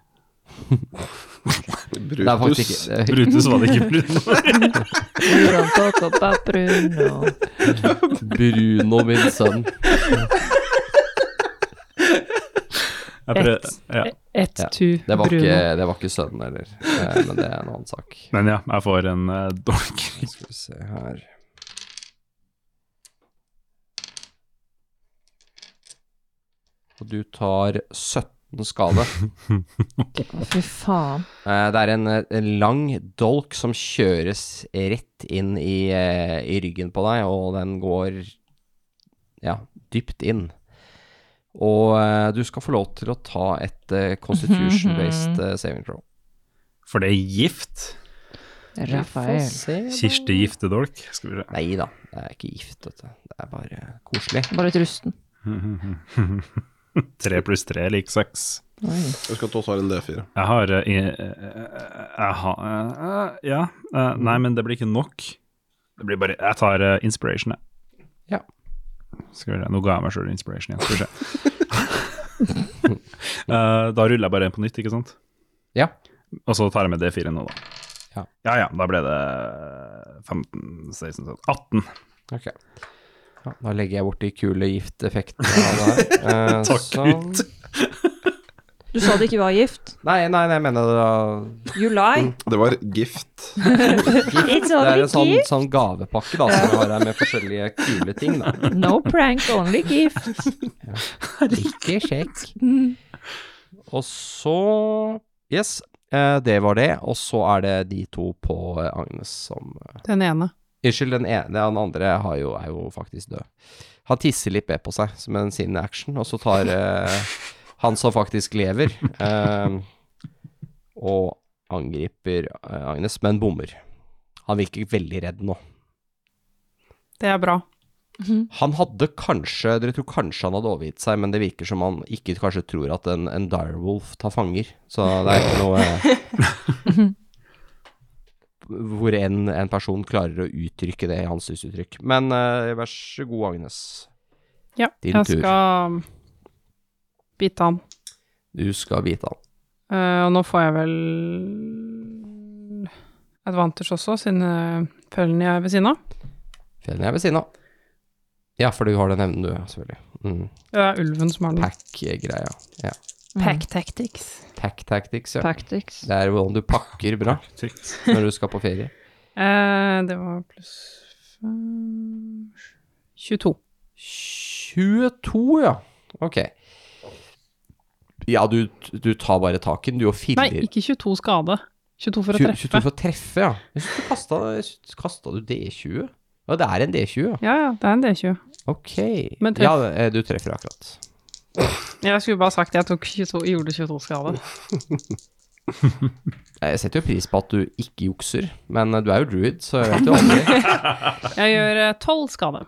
Det er faktisk Brutus. ikke Brutus var det ikke Bruno. eh, Bruno, min sønn. Jeg prøv- ja. Ett Ja, tu, Det var, Bruno. ikke, det var ikke sønnen heller, eh, men det er en annen sak. Men ja, jeg får en eh, dolk. Skal vi se her Og du tar 17 skade. Å, Fy faen. Eh, Det er en, eh, en lang dolk som kjøres rett inn i, eh, i ryggen på deg, og den går ja, dypt inn. Og eh, du skal få lov til å ta et eh, constitution-based eh, saving throw. For det er gift. Rafael. Kirsti Giftedolk. Skal vi se. Nei da, det er ikke gift, vet du. Det er bare koselig. Bare litt rusten. Tre pluss tre er lik seks. Husk at du også har en D4. Jeg har eh, eh, eh, Jeg har eh, eh, Ja. eh, Nei, men det blir ikke nok. Det blir bare Jeg tar eh, inspiration, jeg. Ja. Skal vi se. Nå ga jeg meg sjøl inspiration igjen, skal vi se. Eh, da ruller jeg bare en på nytt, ikke sant? Ja. Og så tar jeg med D4 nå, da. Ja. ja, ja, da ble det 15, 16, 17, 18. Ok. Ja, da legger jeg bort de kule gifteffektene av det her. Eh, Takk, sånn. gutt. Du sa det ikke var gift. Nei, nei, nei, jeg mener det da You lie. Det var gift. It's Det er only en sånn, gift. sånn gavepakke da, som vi har her med forskjellige kule ting. da. No prank, only gift. Ikke sjekk. Og så Yes, eh, det var det. Og så er det de to på eh, Agnes som eh, Den ene. Unnskyld, den ene. Den andre har jo, er jo faktisk død. Han tisser litt B på seg som en sin action, og så tar eh, han som faktisk lever, eh, og angriper eh, Agnes, men bommer. Han virker veldig redd nå. Det er bra. Han hadde kanskje, dere tror kanskje han hadde overgitt seg, men det virker som han ikke kanskje tror at en, en direwolf tar fanger. Så det er ikke noe eh, Hvor en, en person klarer å uttrykke det i hans uttrykk. Men eh, vær så god, Agnes. Ja, Din jeg tur. skal bite han. Du skal bite han. Eh, og nå får jeg vel advantage også, siden uh, følgen jeg er ved siden av. Fjellen er ved siden av. Ja, for du har den evnen, du, selvfølgelig. Mm. Det er ulven som har den. Pack-greia. Ja. Pack tactics. Pack tactics, ja. Tactics. Det er hvordan du pakker bra når du skal på ferie. Eh, det var pluss fem 22. 22, ja. Ok. Ja, du, du tar bare taken, du, og filler Nei, ikke 22 skade. 22 for å 20 treffe. 22 for å treffe, ja. Jeg synes du kastet- jeg synes- Kasta du D20? Ja, det er en D20, ja. Ja, ja, det er en D20. Ok. Men treff. Ja, eh, du treffer akkurat. Jeg skulle bare sagt jeg tok 22, gjorde 22 skade. Jeg setter jo pris på at du ikke jukser, men eh, du er jo druid, så jeg vet jo aldri. Jeg gjør eh, 12 skade.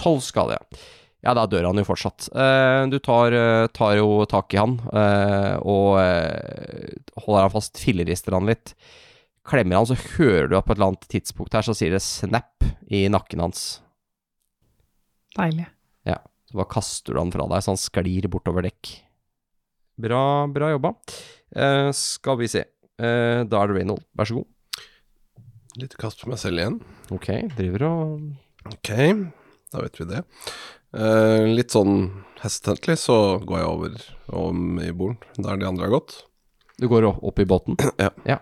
12 skade, ja. Ja, da dør han jo fortsatt. Eh, Du tar, eh, tar jo tak i han, eh, og eh, holder han fast, fillerister han litt. Klemmer han, så hører du at på et eller annet tidspunkt her, så sier det snap i nakken hans. Deilig. Så bare kaster du han fra deg, så han sklir bortover dekk. Bra, bra jobba. Eh, skal vi se. Eh, da er det Reynold, vær så god. Litt kast for meg selv igjen. Ok, driver og Ok, da vet vi det. Eh, litt sånn hestetentlig så går jeg over om i borden, der de andre har gått. Du går opp, opp i båten. Eh,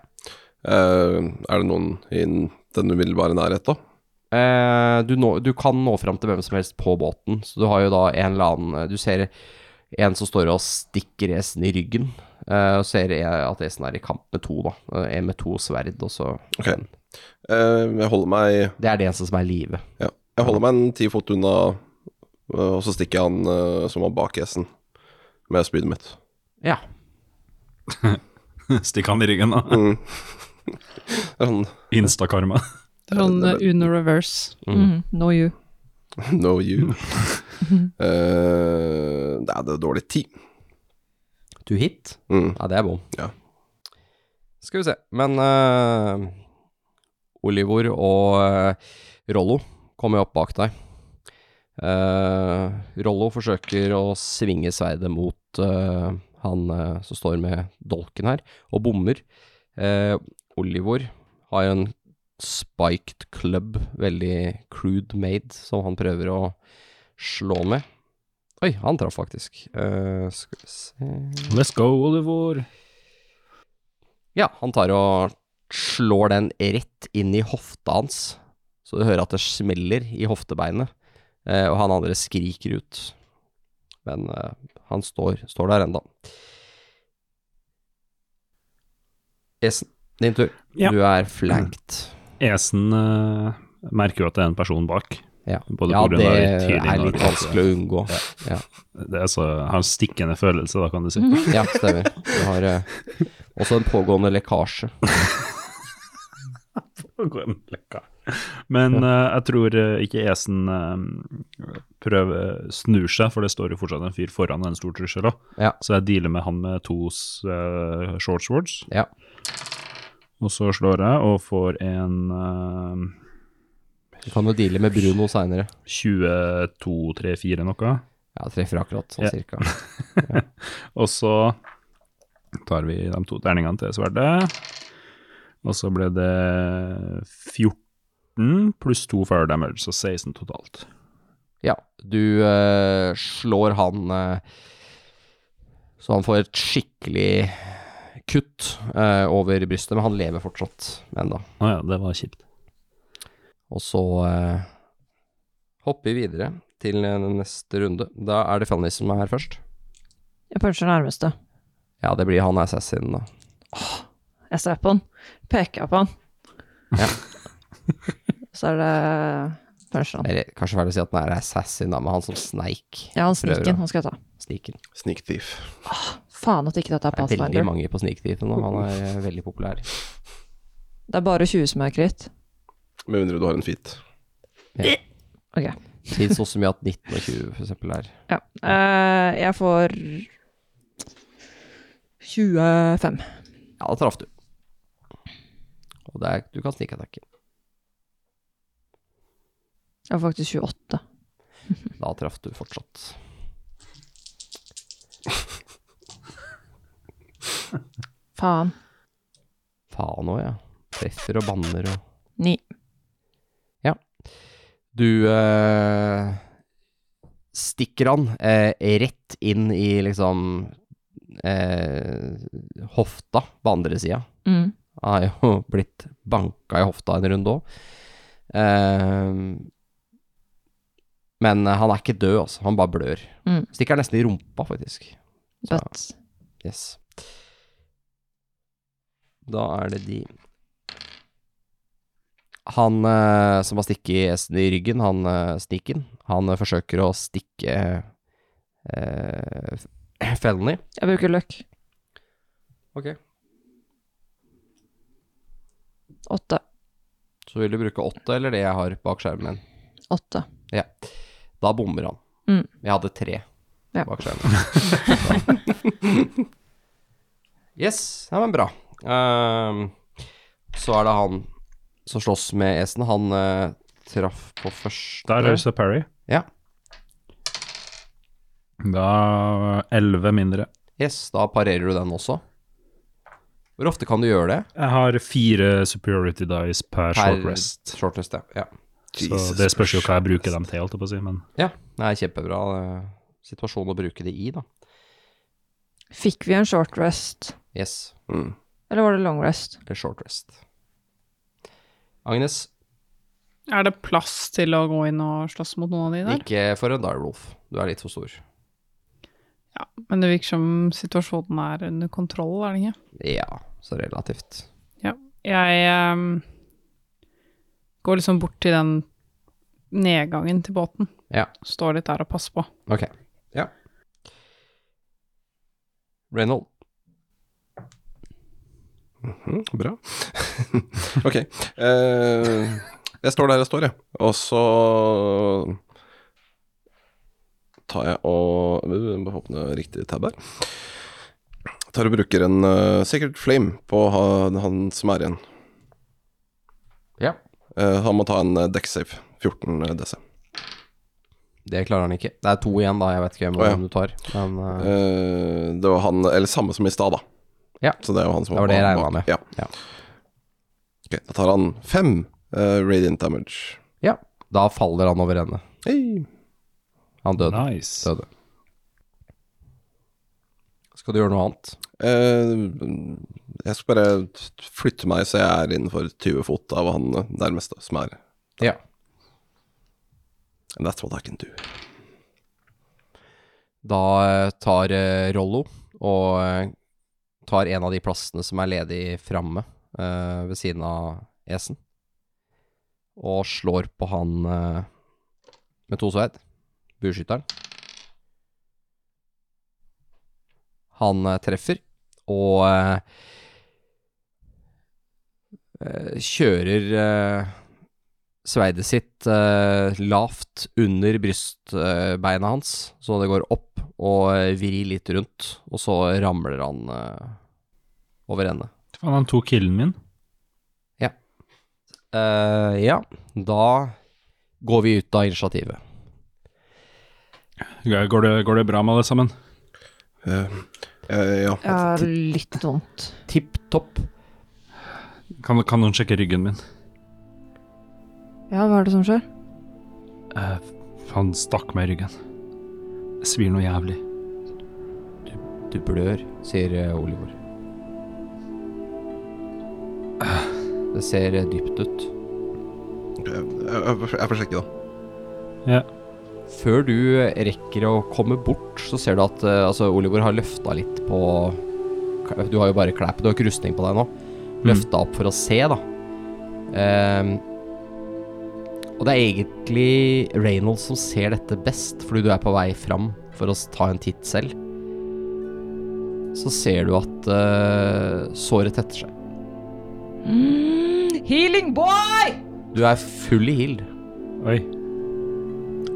er det noen i den umiddelbare nærhet, da? Eh, du, nå, du kan nå fram til hvem som helst på båten, så du har jo da en eller annen eh, Du ser en som står og stikker esen i ryggen, eh, og ser eh, at esen er i kamp med to, da. Eh, En med to sverd, og så Ok. Eh, jeg holder meg Det er det eneste som er i live. ja, Jeg holder meg en ti fot unna, eh, og så stikker jeg han eh, som var bak esen, med spydet mitt. Ja. Stikk han i ryggen, da. Mm. Det er sånn Instakarma. Det er sånn Ja, det eh, Uno reverse. Mm. No you. No you. Eh, nei, det er dårlig tid. To hit. Mm. Ja, det er bom. Ja. Skal vi se. Men eh, Olivor og eh, Rollo kommer jo opp bak deg. Eh, Rollo forsøker å svinge sverdet mot eh, han eh, som står med dolken her, og bommer. Eh, Olivor har en spiked club, veldig crude made, som han prøver å slå med. Oi, han traff faktisk. Eh, skal vi se Let's go, Olivor. Ja, han tar og slår den rett inn i hofta hans, så du hører at det smeller i hoftebeinet, eh, og han andre skriker ut. Men eh, han står, står der enda. Esen, din tur. Ja. Du er flanked. Esen eh, merker jo at det er en person bak. Ja, Mm. Både ja på grunn det av tydningen er og- litt vanskelig å unngå. Ja, Det er så, har en stikkende følelse, da, kan du si. ja stemmer. Du har eh, også en pågående lekkasje. Og gå en lekka. Men eh, jeg tror eh, ikke Esen eh, prøver, snur seg, for det står jo fortsatt en fyr foran en stor trussel. da. Ja. Så jeg dealer med han med to uh, short swords, Ja. og så slår jeg og får en eh, Du kan jo deale med Bruno seinere. 22-3-4 noe. Ja, treffer akkurat sånn Ja. cirka. Og så tar vi de to terningene til sverdet. Og så ble det 14 pluss 2 fire damage, så 16 totalt. Ja, du eh, slår han eh, så han får et skikkelig kutt eh, over brystet, men han lever fortsatt ennå. Å ja, det var kjipt. Og så eh, hopper vi videre til eh, neste runde. Da er det Fanny som er her først. Jeg puncher nærmeste. Ja, det blir han assassinen, da. Jeg ser på han, peker på han. Ja. Så er det puncher han. Eller kanskje feil å si at den er assassin, da, men han som sneik. Ja, han Prøver sniken, å- han skal jeg ta. Sniken. Sneak thief. Faen at ikke dette er Det er veldig Pathfinder. mange på sniktiefen nå, han er eh, veldig populær. Det er bare 20 som er kritt. Med mindre du har en feat. Ok. Fins også mye at 19 og 20 for eksempel er Ja. Eh, jeg får 25. Ja, da traff du. Og det er, du kan snikattakke. Jeg får faktisk 28. Da traff du fortsatt. Faen. Faen òg, ja. Treffer og banner og 9. Du eh, stikker han eh, rett inn i liksom eh, hofta på andre sida. Mm. Han har jo blitt banka i hofta en runde òg. men han er ikke død, altså. Han bare blør. Mm. Stikker nesten i rumpa, faktisk. Så- But Yes. Da er det de Han eh, som har stikket hesten i ryggen, han eh, sniken, han eh, forsøker å stikke eh, f- fellen i. jeg bruker løkk. Ok. 8. Så vil du bruke åtte, eller det jeg har bak skjermen. 8. Da bommer han. Mm. Jeg hadde tre Ja. bak skjermen. yes, ja, men bra. Ehm, så er det han som slåss med Esen. Han eh, traff på første Der høres det Parry. Ja. Da 11 mindre. Yes, da parerer du den også. Hvor ofte kan du gjøre det? Jeg har fire superiority dice per, short rest. Short rest, ja. ja. så det spørs jo hva jeg bruker dem til, holdt jeg på å si. Men Ja, det er kjempebra eh, situasjon å bruke det i, da. Fikk vi en short rest? Yes, Mm. Eller var det long rest? det er short rest. Agnes, Er det plass til å gå inn og slåss mot noen av de der? ikke for en direwolf. Du er litt for stor. Ja, men det virker som situasjonen er under kontroll, er det ikke? Ja, så relativt. Jeg ehm, går liksom bort til den nedgangen til båten. Ja. Står litt der og passer på. Ok. Ja. Reynold. Mhm, bra. ok. eh, jeg står der jeg står, jeg. Og så tar jeg og Jeg må åpne riktig tab her. Tar og bruker en eh, Sacred Flame på han, han som er igjen. Ja. Eh, han må ta en uh, deck-save. 14 eh, DC. Det klarer han ikke. Det er to igjen, da. Jeg vet ikke hvem Å, ja. du tar. Men eh, Eh, det var han Eller samme som i stad, da. Ja. Så det er jo han som Det var det jeg bak- regnet med. Ja. Ja. Ok, da tar han fem eh, radiant damage. ja, da faller han over ende. Hei. Han døde. nice. døde. Skal du gjøre noe annet? Eh, jeg skal bare flytte meg så jeg er innenfor 20 fot av han nærmeste, som er Ja. And that's what I can do. Da eh, tar eh, Rollo og eh, tar en av de plassene som er ledig framme eh, ved siden av Esen, og slår på han eh, med to sverd, bueskytteren. Han eh, treffer, og eh, eh, kjører eh, sveidet sitt eh, lavt under brystbeinet hans, så det går opp og eh, vrir litt rundt, og så ramler han eh, over ende. Faen, han tok killen min. Eh, ja, da går vi ut av initiativet. Går det, går det bra med alle sammen? Eh, eh, ja. Ja, litt vondt. Tipp topp. Kan, kan noen sjekke ryggen min? Ja, hva er det som skjer? Eh, han stakk meg i ryggen. Det svir noe jævlig. Du blør, sier eh, Oliver. Det ser eh, dypt ut. Jeg, jeg, Eh, jeg får sjekke, da. Før du rekker å komme bort, så ser du at eh, altså, Oliver har løfta litt på Du har jo bare klær på, du har ikke rustning på deg nå. Mm. Løfta opp for å se, da. Ehm, og det er egentlig Reynolds som ser dette best, fordi du er på vei fram for å s- ta en titt selv. Så ser du at eh, såret tetter seg. Healing boy! Du er full i hild. Oi.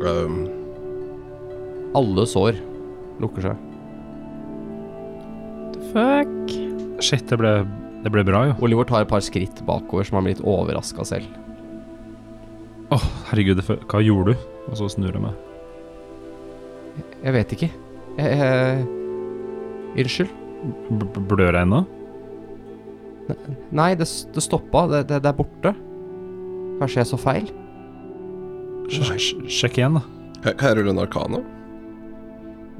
Eh, Alle sår lukker seg. Fuck. Shit, det ble, det ble bra, jo. Oliver tar et par skritt bakover, som han blir litt overraska selv. Åh, herregud, det fø- hva gjorde du? Og så snur jeg meg. Jeg vet ikke. Jeg, jeg, unnskyld. B -b Blør jeg ennå? Nei, det, s- det stoppa. Det, det, det er borte. Kanskje jeg så feil? Sj- sj- Sjekk igjen, da. kan kan jeg rulle en arkana?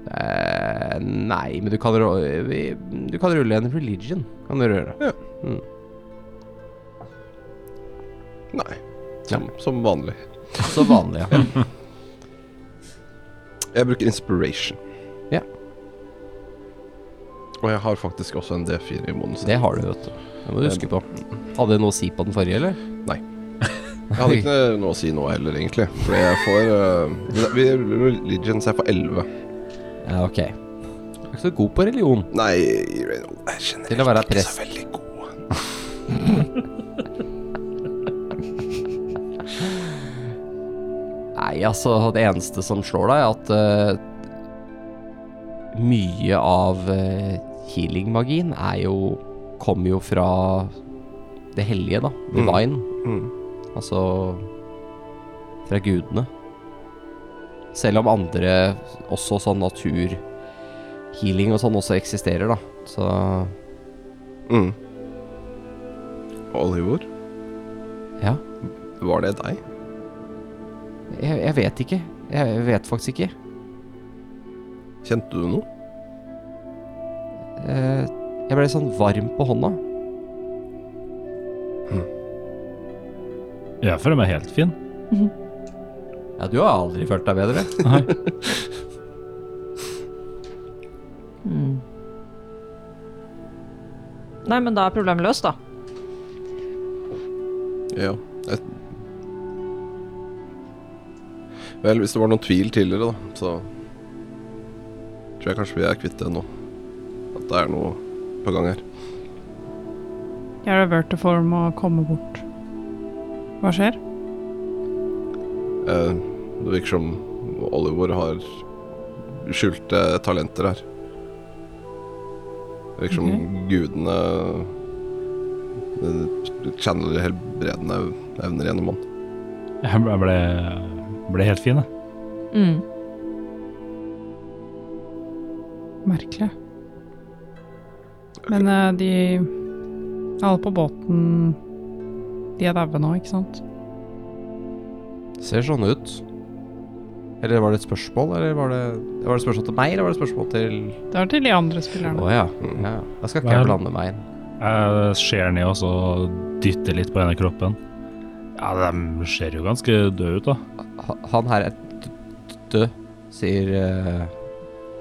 Eh, nei, men du kan, rå- vi- du kan rulle en religion. Kan du gjøre. Nei. Som, som vanlig. Så vanlig, ja. Jeg bruker inspiration. Ja. Og jeg har faktisk også en D4 i bonus. Det har du, vet du. Det må du huske på. Hadde det noe å si på den forrige, eller? Jeg hadde ikke noe å si nå heller, egentlig. For jeg får eh, vi Religion, så jeg får 11. Ja, ok. Du er ikke så god på religion. Nei, Reynold, jeg kjenner Til å være ikke prest. så veldig god. Nei, altså, det eneste som slår deg, er at eh, mye av eh, healing-magien er jo Kommer jo fra det hellige, da. Divine. Mm. Altså fra gudene. Selv om andre også sånn naturhealing og sånn også eksisterer, da. Så Mm. Oliver, ja. var det deg? Jeg, jeg vet ikke. Jeg vet faktisk ikke. Kjente du noe? Eh, Jeg ble sånn varm på hånda. Jeg føler meg helt fin. Ja, du har aldri følt deg bedre. Nei. Nei, men da er problemet løst, da. Ja. Jeg... Vel, hvis det var noen tvil tidligere, da, så tror jeg kanskje vi er kvitt det nå. At det er noe på gang her. Jeg er vertiform og komme bort. Hva skjer? Eh, det virker som Oliver har skjulte talenter her. Det virker som gudene eh, channeler helbredende evner gjennom han. Jeg ble, ble, ble helt fin, jeg. Mm. Merkelig. Men eh, de Alle på båten De er daue nå, ikke sant? Ser sånn ut. Eller var det et spørsmål, eller var det, var det spørsmål til meg, eller var det spørsmål til Det er til de andre Å spillerne. ja. ja. Da skal ikke jeg blande meg inn. Jeg ser ned og så dytter litt på denne kroppen. Ja, de ser jo ganske døde ut, da. Ha- Han her er d- d- død, sier eh,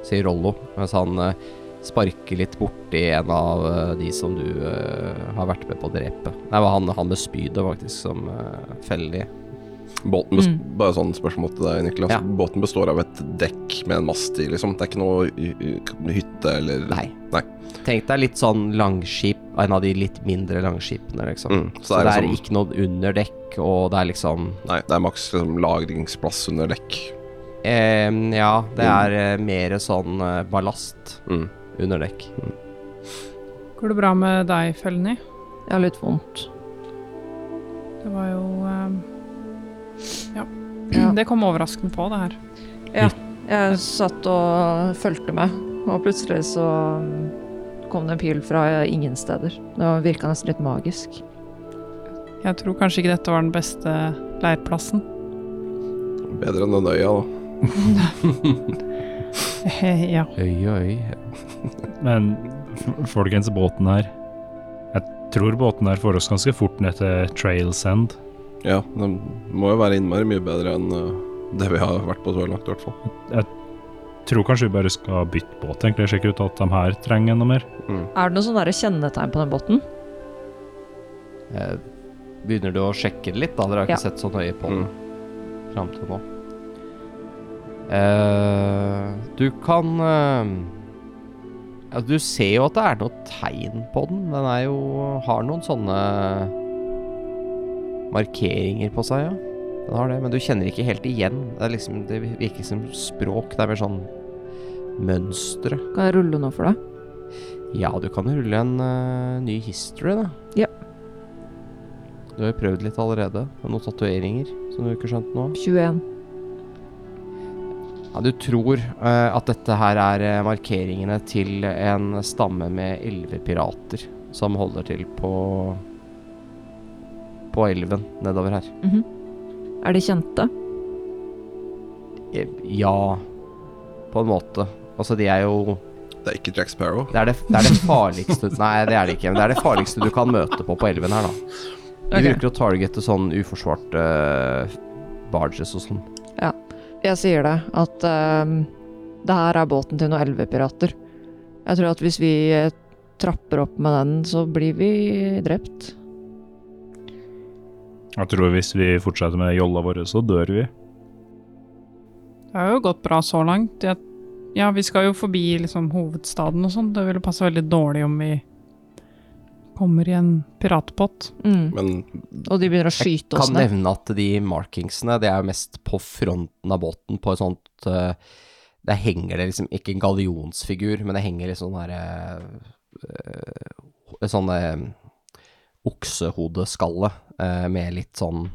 sier Rollo, mens han eh, sparker litt borti en av eh, de som du eh, har vært med på å drepe. Nei, det var han, han med spydet, faktisk, som eh, feller i. Båten bes- Mm. Bare sånn spørsmål til deg, Niklas. Ja. Båten består av et dekk med en mast i, liksom. Det er ikke noe y- y- hytte eller Nei. Nei. Tenk deg litt sånn langskip, en av de litt mindre langskipene, liksom. Mm, Så det er, liksom, ikke noe underdekk, og det er liksom Nei, det er maks liksom, lagringsplass under dekk. eh, Ja, det er eh, mer sånn eh, ballast Mm. under dekk. Går det bra med deg, Felny? Jeg har litt vondt. Det var jo eh, ja. Ja. Det kom overraskende på, det her. Jeg satt og fulgte med, og plutselig så mm, kom det en pil fra ingen steder. Det virka nesten litt magisk. Jeg tror kanskje ikke dette var den beste leirplassen. Bedre enn den øya, da. ja. Øy, øy. Men f- folkens, båten her Jeg tror båten her får oss ganske fort ned til Trails End. Ja, den må jo være innmari mye bedre enn eh, det vi har vært på så langt, i hvert fall. Tror kanskje vi bare skal bytte båt, egentlig. Sjekke ut at de her trenger noe mer. Er det noe sånn derre kjennetegn på den båten? Eh, Begynner du å sjekke det litt, da? Dere har Ja. ikke sett så nøye på den Mm. fram til nå. Eh, du kan eh, ja, Du ser jo at det er noe tegn på den. Den er jo har noen sånne markeringer på seg, ja. Den har det, men du kjenner ikke helt igjen. Det, er liksom, det virker ikke som språk, det er mer sånn mønstre. Kan jeg rulle noe for deg? Ja, du kan rulle en eh, ny history, da. Ja. Du har jo prøvd litt allerede, med noen tatoveringer som du ikke skjønte noe av. 21. Ja, du tror eh, at dette her er eh, markeringene til en stamme med elleve pirater som holder til på på elven nedover her. Er de kjente? Eh, Ja, på en måte. Altså, de er jo Det er ikke Jack Sparrow. Det er det, det, er det farligste Nei, det er det ikke. Men det er det farligste du kan møte på på elven her, da. De Ok. bruker å targete sånn uforsvarte eh, barges og sånn. Jeg sier det, at ehm, det her er båten til noen elvepirater. Jeg tror at hvis vi eh, trapper opp med den, så blir vi drept. Jeg tror hvis vi fortsetter med jolla vår, så dør vi. Det har jo gått bra så langt. Jeg, ja, vi skal jo forbi liksom, hovedstaden og sånn. Det ville passe veldig dårlig om vi kommer i en piratpott. Men Mm. Og sånn, de begynner å skyte oss Kan ned. nevne at de markingsene, det er jo mest på fronten av båten, på et sånt eh, Der henger det liksom ikke en gallionsfigur, men det henger litt sånn derre uh, Sånn eh, oksehodeskalle eh, med litt sånn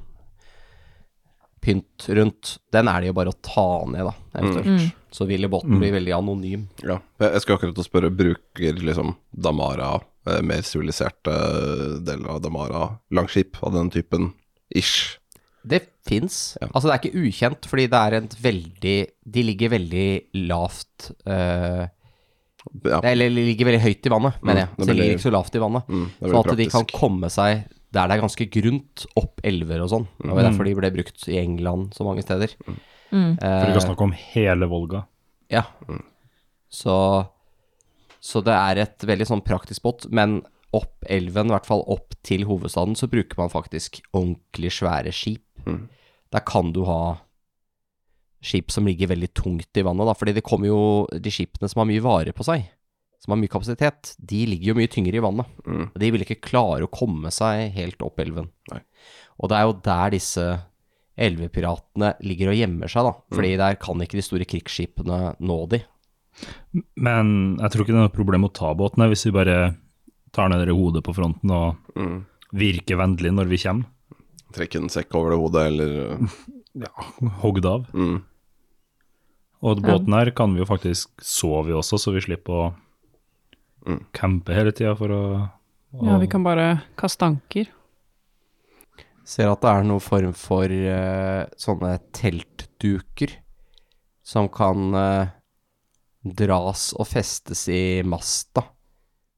pynt rundt. Den er det jo bare å ta ned, da, eventuelt. Så vil båten bli veldig anonym. ja, jeg jeg skulle akkurat til å spørre, bruker liksom Damara, eh, mer siviliserte deler av Damara, langskip av den typen, ish? Det fins. Ja. Altså, det er ikke ukjent, fordi det er et veldig De ligger veldig lavt eh, Ja, Mm, Nei, Eller de ligger veldig høyt i vannet, mener jeg. Så det er de veldig- ligger ikke så lavt i vannet. mm, det Sånn er veldig at de kan praktisk. komme seg der det er ganske grunt, opp elver og sånn. Det Mm. var derfor de ble brukt i England så mange steder. Mm. For ikke Eh, å snakke om hele Volga. ja. Mm. Så, så det er et veldig sånn praktisk båt, men opp elven, i hvert fall opp til hovedstaden, så bruker man faktisk ordentlig svære skip. Mm. Der kan du ha skip som ligger veldig tungt i vannet, da, fordi det kommer jo de skipene som har mye vare på seg, som har mye kapasitet, de ligger jo mye tyngre i vannet. Mm. Og de vil ikke klare å komme seg helt opp elven. Nei. Og det er jo der disse elvepiratene ligger og gjemmer seg, da. Fordi der kan ikke de store krigsskipene nå de. Men jeg tror ikke det er noe problem å ta båten her, hvis vi bare tar ned det hodet på fronten og Mm. virker vennlig når vi kommer. Trekke en sekk over det hodet, eller eh, Hogd av. mm. Og båten her kan vi jo faktisk sove i også, så vi slipper å Mm. campe hele tida for å, å Ja, vi kan bare kaste anker. Ser at det er noen form for eh, sånne teltduker som kan eh, dras og festes i masta.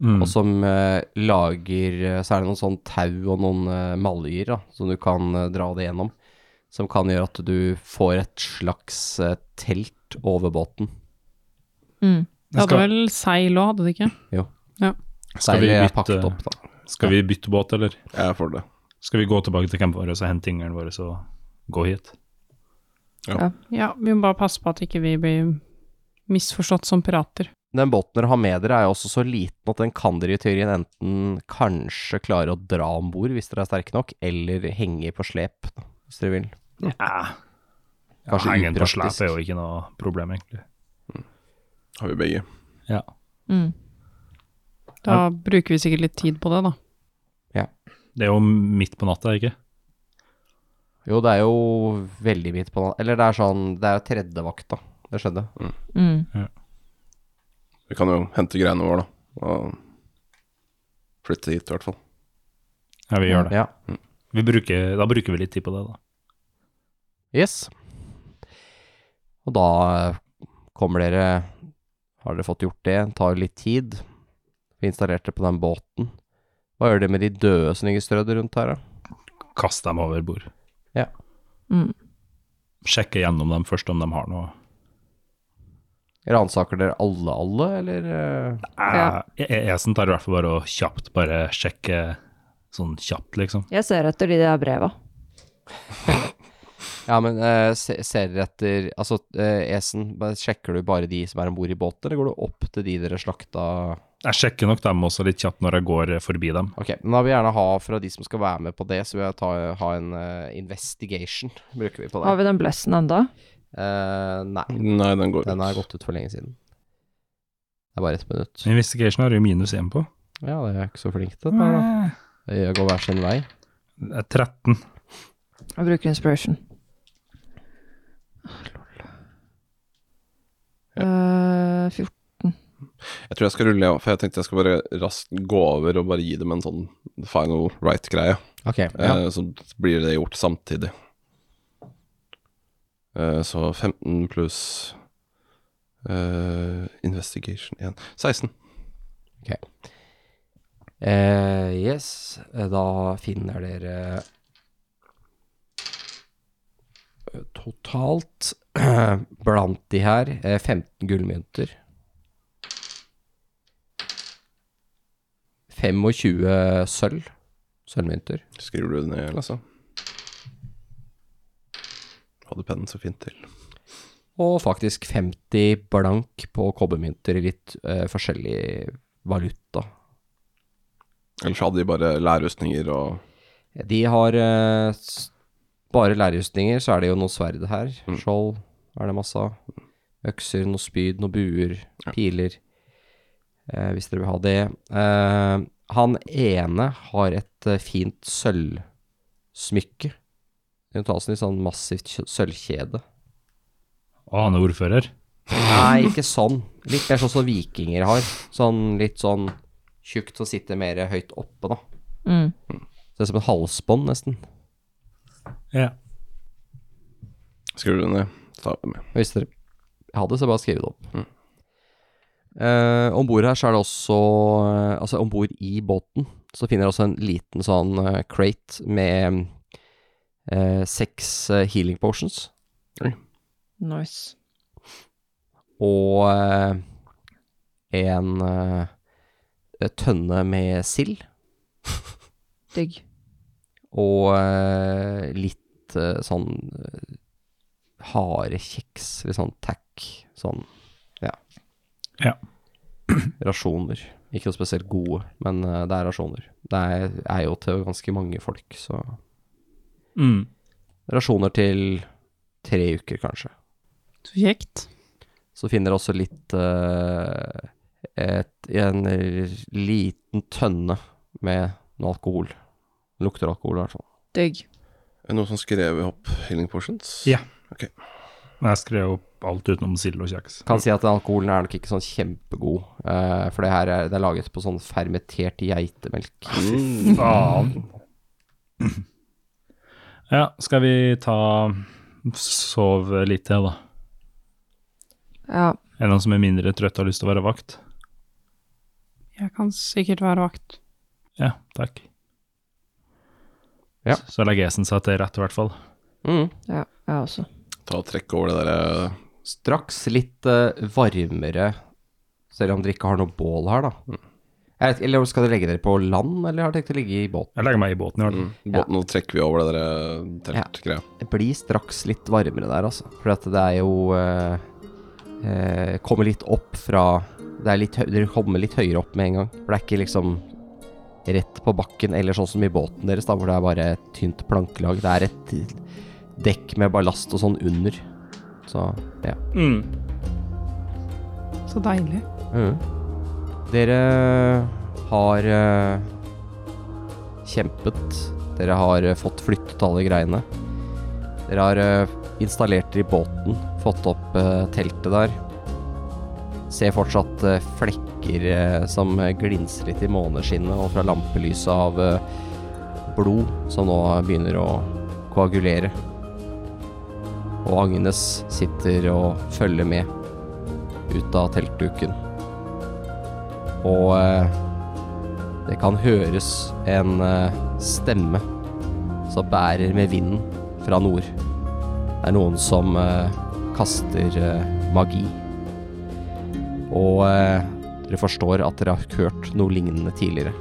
Mm. Og som eh, lager eh, Så er det noen sånn tau og noen eh, maljer da, som du kan eh, dra det gjennom. Som kan gjøre at du får et slags eh, telt over båten. Mm. Det hadde Skal- vel seil òg, hadde det ikke? Skal vi Seilet er bytte- eh, pakket opp, da. Skal vi bytte båt, eller? Jeg er for det. Skal vi gå tilbake til campen vår og hente tingene våre og gå hit? Ja, vi må bare passe på at ikke vi blir misforstått som pirater. Den båten dere har med dere, er jo også så liten at den kan dere i teorien enten kanskje klare å dra om bord hvis dere er sterke nok, eller henge på slep, da, hvis dere vil. Ja, Kanskje Hengen på slep upraktisk. er jo ikke noe problem, egentlig. Har vi begge. Ja. Mm. Da bruker vi sikkert litt tid på det, da. Det er jo midt på natta, ikke? Jo, det er jo veldig midt på natta Eller det er sånn Det er jo tredjevakt, da. Det skjedde. Mm. Vi kan jo hente greiene våre, da. Og flytte hit, i hvert fall. Ja, vi gjør det. Ja. Vi bruker, da bruker vi litt tid på det, da. Yes. Og da eh, kommer dere Har dere fått gjort det? Tar jo litt tid. Vi installerte på den båten. Hva gjør dere med de døde som ligger strødd rundt her, da? Kaste dem over bord. Mm. Sjekke gjennom dem først om de har noe. Ransaker dere alle, alle, eller eh, Ja. Jeg, jeg, jeg som E-, tar i hvert fall bare og kjapt bare sjekke sånn kjapt, liksom. Jeg ser etter de der breva. Ja, men eh, se, ser dere etter Altså, eh, Esen, bare sjekker du bare de som er om bord i båten, eller går du opp til de dere slakta Jeg sjekker nok dem også litt kjapt når jeg går eh, forbi dem. Ok, men da vil jeg gjerne ha fra de som skal være med på det, så vil jeg ta, ha en eh, investigation, bruker vi på det. Har vi den blessen enda? Eh, nei, Nei, den går den har ut. gått ut for lenge siden. Det er bare ett minutt. Investigation har jo minus én på. Ja, det er ikke så flink til dette her, da. Eh, Jeg går hver sin vei. det er 13. Jeg bruker inspiration. Ah, Eh, 14. Jeg tror jeg skal rulle, ja, for jeg tenkte jeg skal bare raskt gå over og bare gi dem en sånn final right-greie. Ok, ja. Eh, så blir det gjort samtidig. Eh, så 15 pluss eh, Investigation 1 16. Eh, yes, eh, da finner dere eh, totalt blant de her eh, 15 gullmynter. 25 sølv. Sølvmynter. Skriver du det ned, Lasse? Hadde pennen så fint til. Og faktisk 50 blank på kobbermynter i litt eh, forskjellig valuta. Ellers hadde de bare lærrustninger og De har eh, s- bare lærerrustninger, så er det jo noe sverd her. Skjold er det masse av. Økser, noe spyd, noe buer, piler. Eh, hvis dere vil ha det. Eh, han ene har et eh, fint sølvsmykke. Det tas en litt sånn massivt kj- sølvkjede. Å, han er ordfører. Nei, ikke sånn. Litt mer sånn som vikinger har. Sånn litt sånn tjukt og sitter mer høyt oppe, da. Mm. Det er som et halsbånd, nesten. Ja. Skriver du det ned, tar vi det med. Hvis dere har det, så bare skriv det opp. Eh, om bord her så er det også eh, Altså, om bord i båten så finner dere også en liten sånn eh, crate med eh, seks eh, healing potions Nice. og eh, en eh, tønne med sild Digg. og eh, litt eh, sånn eh, harekjeks, litt sånn tack, sånn Ja. rasjoner. Ikke noe spesielt gode, men eh, det er rasjoner. Det er, er jo til ganske mange folk, så Mm. Rasjoner til tre uker, kanskje. Så kjekt. Så finner dere også litt eh, et, En liten tønne med noe alkohol. Lukter alkohol, i hvert fall. Digg. Er det noen som skrev opp healing portions? Ja. Men jeg skrev opp alt utenom sild og kjeks. Kan si at den alkoholen er nok ikke sånn kjempegod, eh, for det her er, det er laget på sånn fermentert geitemelk. Mm. Faen. Ja, skal vi ta Sov litt til, da. Ja. Er det noen som er mindre trøtt og har lyst til å være vakt? Jeg kan sikkert være vakt. Ja, takk. Ja. Så, så legger Esen seg til rett, i hvert fall. Mm. ja. Jeg også. Ta og Trekke over det der eh, Straks litt eh, varmere Selv om dere ikke har noe bål her, da. Jeg vet, eller skal dere legge dere på land, eller har dere tenkt å ligge i båt? Jeg legger meg i båten i hvert fall. Mm. Båten, Nå trekker vi over det der eh, teltgreia. Det blir straks litt varmere der, altså. For at det er jo eh, eh, Kommer litt opp fra det er litt hø Dere kommer litt høyere opp med en gang. For det er ikke liksom rett på bakken eller sånn som i båten deres, da, hvor det er bare et tynt plankelag. Det er et dekk med ballast og sånn under. Så ja. Mm. Så deilig. Mhm. Dere har eh, kjempet. Dere har eh, fått flyttet alle greiene. Dere har eh, installert dere i båten, fått opp eh, teltet der. Ser fortsatt eh, flekker eh, som glinser litt i måneskinnet og fra lampelyset av eh, blod som nå begynner å koagulere. Og Agnes sitter og følger med ut av teltduken. Og eh, det kan høres en eh, stemme som bærer med vinden fra nord. Det er noen som eh, kaster eh, magi. Og eh, dere forstår at dere har hørt noe lignende tidligere.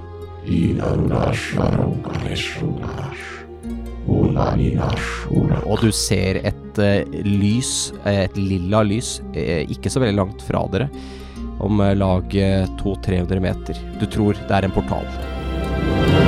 Og du ser et eh, lys, eh, et lilla lys, eh, ikke så veldig langt fra dere, om eh, lag eh, 200-300 meter. Du tror det er en portal.